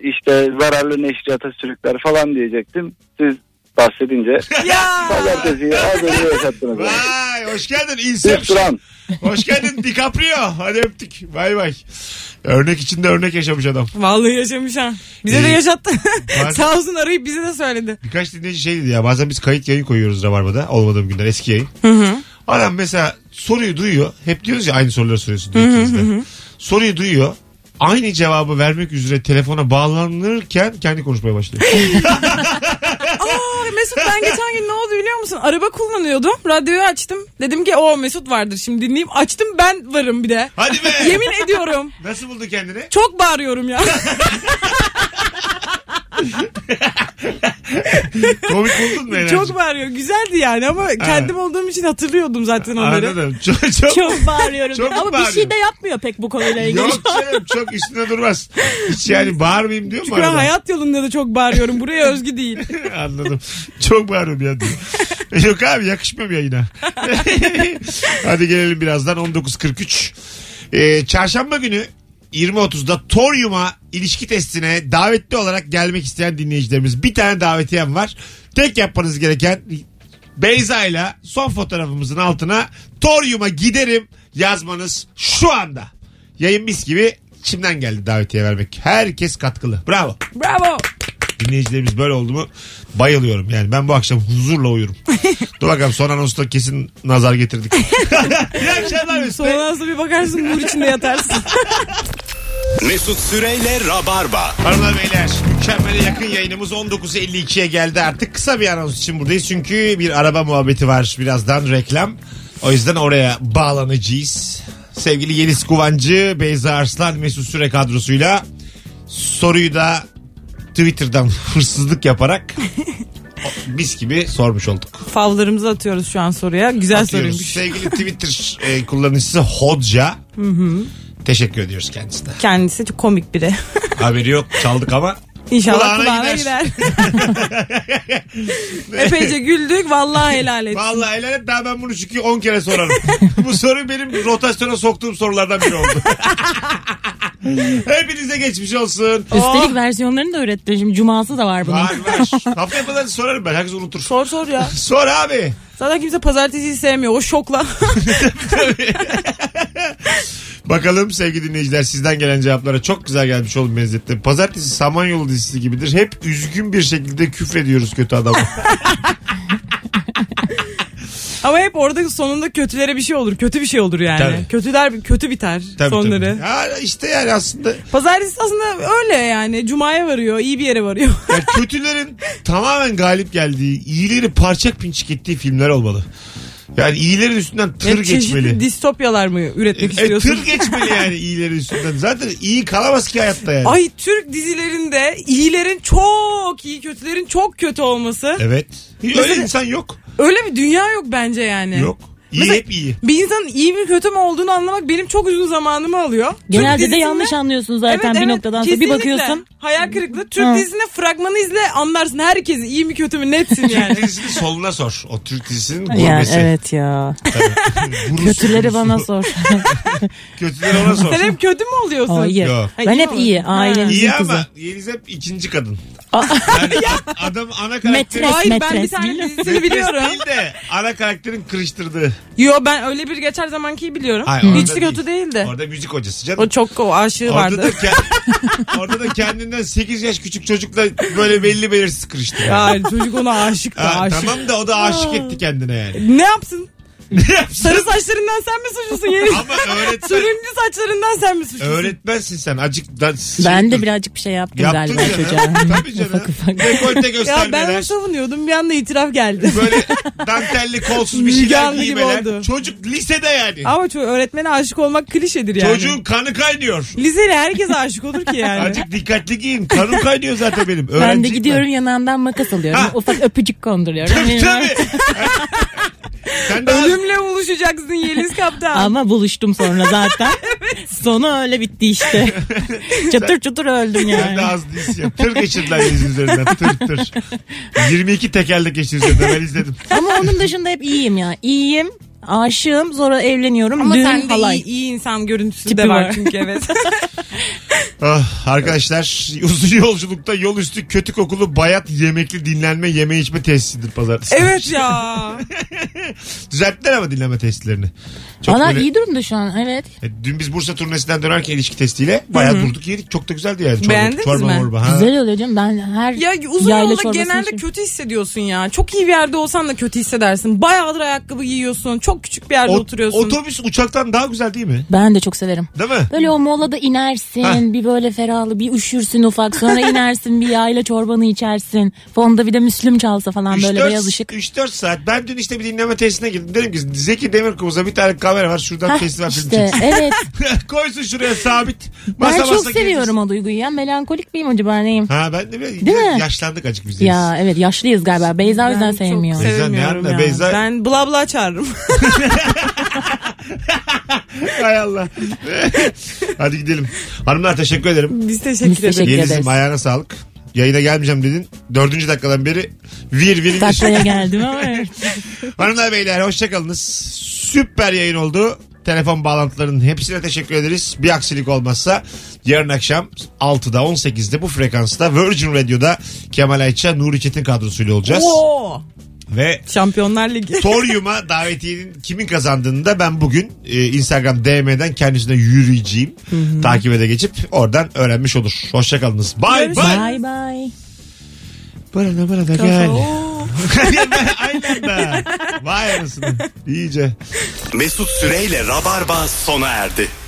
Speaker 4: işte zararlı neşriyata sürükler falan diyecektim. Siz bahsedince
Speaker 3: Ya.
Speaker 4: pazartesi az önce yaşattınız. bana.
Speaker 2: Vay hoş geldin
Speaker 4: Siz
Speaker 2: Inception.
Speaker 4: duran.
Speaker 2: Hoş geldin DiCaprio. Hadi öptük. Bay bay. Örnek içinde örnek yaşamış adam.
Speaker 3: Vallahi yaşamış ha. Bize de
Speaker 2: İyi.
Speaker 3: yaşattı.
Speaker 2: Ben-
Speaker 3: Sağ olsun arayıp bize de söyledi.
Speaker 2: Birkaç dinleyici şey dedi ya bazen biz kayıt yayın koyuyoruz Rabarba'da olmadığım günler eski yayın. Adam mesela soruyu duyuyor. Hep diyoruz ya aynı soruları soruyorsun. diye ikiniz de. soruyu duyuyor. Aynı cevabı vermek üzere telefona bağlanırken kendi konuşmaya başlıyor.
Speaker 3: Aa Mesut ben geçen gün ne oldu biliyor musun? Araba kullanıyordum. Radyoyu açtım. Dedim ki o Mesut vardır şimdi dinleyeyim. Açtım ben varım bir de.
Speaker 2: Hadi be.
Speaker 3: Yemin ediyorum.
Speaker 2: Nasıl buldu kendini?
Speaker 3: Çok bağırıyorum ya.
Speaker 2: Komik buldun mu enerji?
Speaker 3: Çok bağırıyor. Güzeldi yani ama kendim olduğum için hatırlıyordum zaten onları.
Speaker 2: Anladım. Çok, çok,
Speaker 5: Çok bağırıyorum.
Speaker 2: Çok
Speaker 5: ama bir
Speaker 2: bağırıyorum.
Speaker 5: şey de yapmıyor pek bu konuyla ilgili.
Speaker 2: Yok canım çok üstüne durmaz. Hiç yani bağırmayayım diyor mu
Speaker 3: Ben
Speaker 2: arada?
Speaker 3: hayat yolunda da çok bağırıyorum. Buraya özgü değil.
Speaker 2: Anladım. Çok bağırıyorum ya diyor. Yok abi yakışmıyor mu yayına? Hadi gelelim birazdan 19.43. Ee, çarşamba günü 20.30'da Torium'a ilişki testine davetli olarak gelmek isteyen dinleyicilerimiz bir tane davetiyem var. Tek yapmanız gereken Beyza ile son fotoğrafımızın altına Torium'a giderim yazmanız şu anda. Yayın mis gibi içimden geldi davetiye vermek. Herkes katkılı. Bravo.
Speaker 3: Bravo.
Speaker 2: Dinleyicilerimiz böyle oldu mu bayılıyorum. Yani ben bu akşam huzurla uyurum. Dur bakalım son anonsta kesin nazar getirdik. İyi akşamlar Mesut Bey.
Speaker 3: Sonra nasıl bir bakarsın nur içinde yatarsın.
Speaker 1: Mesut Süreyle Rabarba.
Speaker 2: Hanımlar beyler mükemmele yakın yayınımız 19.52'ye geldi artık. Kısa bir anons için buradayız çünkü bir araba muhabbeti var birazdan reklam. O yüzden oraya bağlanacağız. Sevgili Yeliz Kuvancı, Beyza Arslan, Mesut Süre kadrosuyla Soruyu da Twitter'dan hırsızlık yaparak o- biz gibi sormuş olduk.
Speaker 3: Favlarımızı atıyoruz şu an soruya. Güzel
Speaker 2: Atıyoruz.
Speaker 3: soruymuş.
Speaker 2: Sevgili Twitter e, kullanıcısı Hodca. Teşekkür ediyoruz kendisine.
Speaker 3: Kendisi çok komik biri.
Speaker 2: Haberi yok çaldık ama
Speaker 3: İnşallah
Speaker 2: Kulağına
Speaker 3: kulağına, girer.
Speaker 2: gider.
Speaker 3: Epeyce güldük. Vallahi helal et.
Speaker 2: Vallahi helal et daha ben bunu çünkü 10 kere sorarım. Bu soru benim rotasyona soktuğum sorulardan biri oldu. Hepinize geçmiş olsun.
Speaker 5: Üstelik versiyonlarını da öğrettiler. Şimdi cuması da var bunun.
Speaker 2: Var var. Haftaya kadar sorarım ben. Herkes unutur.
Speaker 3: Sor sor ya.
Speaker 2: Sor abi.
Speaker 3: Zaten kimse pazartesiyi sevmiyor. O şokla.
Speaker 2: Bakalım sevgili dinleyiciler sizden gelen cevaplara çok güzel gelmiş oğlum benzettim. Pazartesi Samanyolu dizisi gibidir. Hep üzgün bir şekilde küfrediyoruz kötü adamı.
Speaker 3: Ama hep orada sonunda kötülere bir şey olur. Kötü bir şey olur yani.
Speaker 2: Tabii.
Speaker 3: Kötüler kötü biter
Speaker 2: tabii,
Speaker 3: sonları.
Speaker 2: Tabii. Ha, işte yani aslında
Speaker 3: Pazartesi aslında öyle yani. Cuma'ya varıyor. iyi bir yere varıyor.
Speaker 2: yani kötülerin tamamen galip geldiği, iyileri parçak pinçik ettiği filmler olmalı. Yani iyilerin üstünden tır
Speaker 3: Yani
Speaker 2: geçmeli.
Speaker 3: Çeşitli distopyalar mı
Speaker 2: E,
Speaker 3: üretmek
Speaker 2: e,
Speaker 3: istiyorsun?
Speaker 2: tır geçmeli yani iyilerin üstünden. Zaten iyi kalamaz ki hayatta yani.
Speaker 3: Ay Türk dizilerinde iyilerin çok iyi, kötülerin çok kötü olması.
Speaker 2: Evet. Öyle
Speaker 3: Mesela-
Speaker 2: insan yok.
Speaker 3: Öyle bir dünya yok bence yani.
Speaker 2: Yok. İyi
Speaker 3: Mesela-
Speaker 2: hep iyi.
Speaker 3: Bir insanın iyi mi kötü mü olduğunu anlamak benim çok uzun zamanımı alıyor. Türk
Speaker 5: Genelde de
Speaker 3: dizisinde-
Speaker 5: yanlış anlıyorsun
Speaker 3: Evet,
Speaker 5: zaten bir
Speaker 3: evet,
Speaker 5: noktadan sonra. Bir
Speaker 3: kesinlikle.
Speaker 5: bakıyorsun.
Speaker 3: Hayal kırıklığı. Türk
Speaker 5: Ha.
Speaker 3: dizisinde fragmanı izle anlarsın herkesi iyi mi kötü mü netsin yani.
Speaker 2: Dizisini soluna sor. O Türk dizisinin gurbesi.
Speaker 5: Yani evet ya.
Speaker 2: Gurusu,
Speaker 5: Kötüleri
Speaker 2: gurusu.
Speaker 5: bana sor.
Speaker 2: Kötüleri ona sor.
Speaker 3: Sen hep kötü mü oluyorsun?
Speaker 5: Hayır.
Speaker 2: Yok.
Speaker 3: Ay,
Speaker 5: Ben
Speaker 3: iyi
Speaker 5: hep
Speaker 3: mi?
Speaker 5: iyi.
Speaker 3: Ha.
Speaker 5: Ailemizin
Speaker 2: İyi
Speaker 5: kızı.
Speaker 2: ama Yeliz hep ikinci kadın. Yani ad- adam ana karakteri.
Speaker 5: Metres,
Speaker 3: Hayır ben bir
Speaker 5: metres,
Speaker 3: tane
Speaker 5: biliyor
Speaker 3: dizisini biliyorum.
Speaker 2: Değil de ana karakterin kırıştırdığı.
Speaker 3: Yo ben öyle bir geçer zamankiyi biliyorum.
Speaker 2: Hayır, orada
Speaker 3: Hiç de kötü değildi.
Speaker 2: Orada müzik hocası canım.
Speaker 3: O çok o aşığı
Speaker 2: Orada
Speaker 3: vardı.
Speaker 2: da, ke- orada da kendinden 8 yaş küçük çocukla böyle belli belirsiz kırıştı. yani.
Speaker 3: Yani çocuk ona aşık da
Speaker 2: Ha,
Speaker 3: aşık.
Speaker 2: tamam da o da aşık etti kendine yani.
Speaker 3: Ne yapsın?
Speaker 2: Ne yapsın?
Speaker 3: Sarı saçlarından sen mi suçlusun Yeliz?
Speaker 2: Ama öğretmen,
Speaker 3: Sürümlü saçlarından sen mi suçlusun?
Speaker 2: öğretmensin sen. Acık da,
Speaker 5: Ben de birazcık bir şey yaptım
Speaker 2: Yaptın
Speaker 5: galiba
Speaker 2: canım.
Speaker 5: çocuğa.
Speaker 2: Tabii canım.
Speaker 5: Ufak ufak.
Speaker 2: Dekolte
Speaker 3: Ya ben
Speaker 2: göstermeler.
Speaker 3: onu savunuyordum bir anda itiraf geldi.
Speaker 2: böyle dantelli kolsuz bir
Speaker 3: Müge
Speaker 2: şeyler
Speaker 3: Anlı gibi
Speaker 2: giymeler.
Speaker 3: oldu.
Speaker 2: Çocuk lisede yani.
Speaker 3: Ama ço- öğretmene aşık olmak klişedir yani.
Speaker 2: Çocuğun kanı kaynıyor.
Speaker 3: Liseli herkes aşık olur ki yani.
Speaker 2: Azıcık dikkatli giyin. Kanım kaynıyor zaten benim.
Speaker 5: Ben de
Speaker 2: Öğrenciyim
Speaker 5: gidiyorum yanağımdan makas alıyorum.
Speaker 2: Ha.
Speaker 5: Ufak öpücük konduruyorum.
Speaker 2: Tabii
Speaker 5: Benim var.
Speaker 2: tabii. Sen de
Speaker 3: Ölümle buluşacaksın Yeliz Kaptan.
Speaker 5: Ama buluştum sonra zaten. Sonu öyle bitti işte. çatır çatır öldüm
Speaker 2: Sen
Speaker 5: yani.
Speaker 2: de az değilsin. ya. Tır geçirdiler yüzün üzerinden. Tır tır. 22 tekerlek geçti üzerinden. Ben izledim.
Speaker 5: Ama onun dışında hep iyiyim ya. İyiyim, aşığım, sonra evleniyorum.
Speaker 3: Ama
Speaker 5: Düğün
Speaker 3: sen de
Speaker 5: halay.
Speaker 3: iyi, iyi insan görüntüsü
Speaker 5: Tipi
Speaker 3: de var,
Speaker 5: var.
Speaker 3: çünkü evet.
Speaker 2: Ah, arkadaşlar uzun yolculukta yol üstü kötü kokulu bayat yemekli dinlenme yeme içme tesisidir pazartesi.
Speaker 3: evet ya.
Speaker 2: Düzelttiler ama dinlenme tesislerini. Çok
Speaker 5: Valla
Speaker 2: böyle-
Speaker 5: iyi durumda şu an evet.
Speaker 2: E, Dün biz Bursa turnesinden dönerken ilişki testiyle bayağı durduk yedik. Çok da güzeldi yani. Çorba,
Speaker 3: Beğendiniz
Speaker 2: çorba,
Speaker 3: mi?
Speaker 2: morba, ha.
Speaker 5: Güzel oluyor canım ben her
Speaker 3: Ya uzun
Speaker 5: yayla
Speaker 3: yolda
Speaker 5: çorbasını
Speaker 3: genelde
Speaker 5: içiyorum.
Speaker 3: kötü hissediyorsun ya. Çok iyi bir yerde olsan da kötü hissedersin. Bayağıdır ayakkabı giyiyorsun. Çok küçük bir yerde
Speaker 2: O-
Speaker 3: oturuyorsun.
Speaker 2: Otobüs uçaktan daha güzel değil mi?
Speaker 5: Ben de çok severim.
Speaker 2: Değil mi?
Speaker 5: Böyle o molada inersin
Speaker 2: Heh.
Speaker 5: bir böyle ferahlı bir üşürsün ufak sonra inersin bir yayla çorbanı içersin. Fonda bir de Müslüm çalsa falan böyle
Speaker 2: 3-4
Speaker 5: beyaz ışık.
Speaker 2: 3-4 saat. Ben dün işte bir dinleme tesisine girdim. Dedim ki Zeki Demirkubuz'a bir tane kamera var. Şuradan
Speaker 5: Heh,
Speaker 2: festival filmi
Speaker 5: işte evet
Speaker 2: çeksin. Koysun şuraya sabit.
Speaker 5: ben
Speaker 2: Masa
Speaker 5: çok
Speaker 2: masa
Speaker 5: seviyorum o duyguyu ya melankolik miyim acaba neyim?
Speaker 2: gezsin. Ha ben de böyle
Speaker 5: Değil mi?
Speaker 2: yaşlandık acık biz.
Speaker 5: Ya evet yaşlıyız galiba Beyza o
Speaker 3: Ben
Speaker 5: yüzden
Speaker 3: çok
Speaker 5: sevmiyor.
Speaker 2: Beyza ne
Speaker 3: sevmiyorum
Speaker 2: anla?
Speaker 3: ya.
Speaker 2: Beyza-
Speaker 3: Ben bla bla çağırırım.
Speaker 2: Hay Allah. Hadi gidelim. Hanımlar teşekkür ederim.
Speaker 3: Biz teşekkür
Speaker 5: Biz
Speaker 3: ederiz.
Speaker 5: teşekkür-
Speaker 2: Yeliz'im
Speaker 5: ederiz.
Speaker 2: ayağına sağlık. Yayına gelmeyeceğim dedin. Dördüncü dakikadan beri vir vir vir.
Speaker 5: Taklaya geldim ama evet.
Speaker 2: Hanımlar beyler hoşçakalınız. Süper yayın oldu. Telefon bağlantılarının hepsine teşekkür ederiz. Bir aksilik olmazsa yarın akşam 6'da 18'de bu frekansta Virgin Radio'da Kemal Ayça, Nuri Çetin kadrosuyla olacağız.
Speaker 3: Oo,
Speaker 2: Ve
Speaker 3: Şampiyonlar Ligi.
Speaker 2: Torium'a davetiyenin kimin kazandığını da ben bugün e, Instagram DM'den kendisine yürüyeceğim. Takibe de geçip oradan öğrenmiş olur. Hoşçakalınız. Bye
Speaker 3: Görüşürüz.
Speaker 2: bye.
Speaker 5: Bye bye.
Speaker 2: Bana bana da gel.
Speaker 3: Oo.
Speaker 2: Aynen be. Vay anasını. İyice.
Speaker 1: Mesut Süreyle Rabarba sona erdi.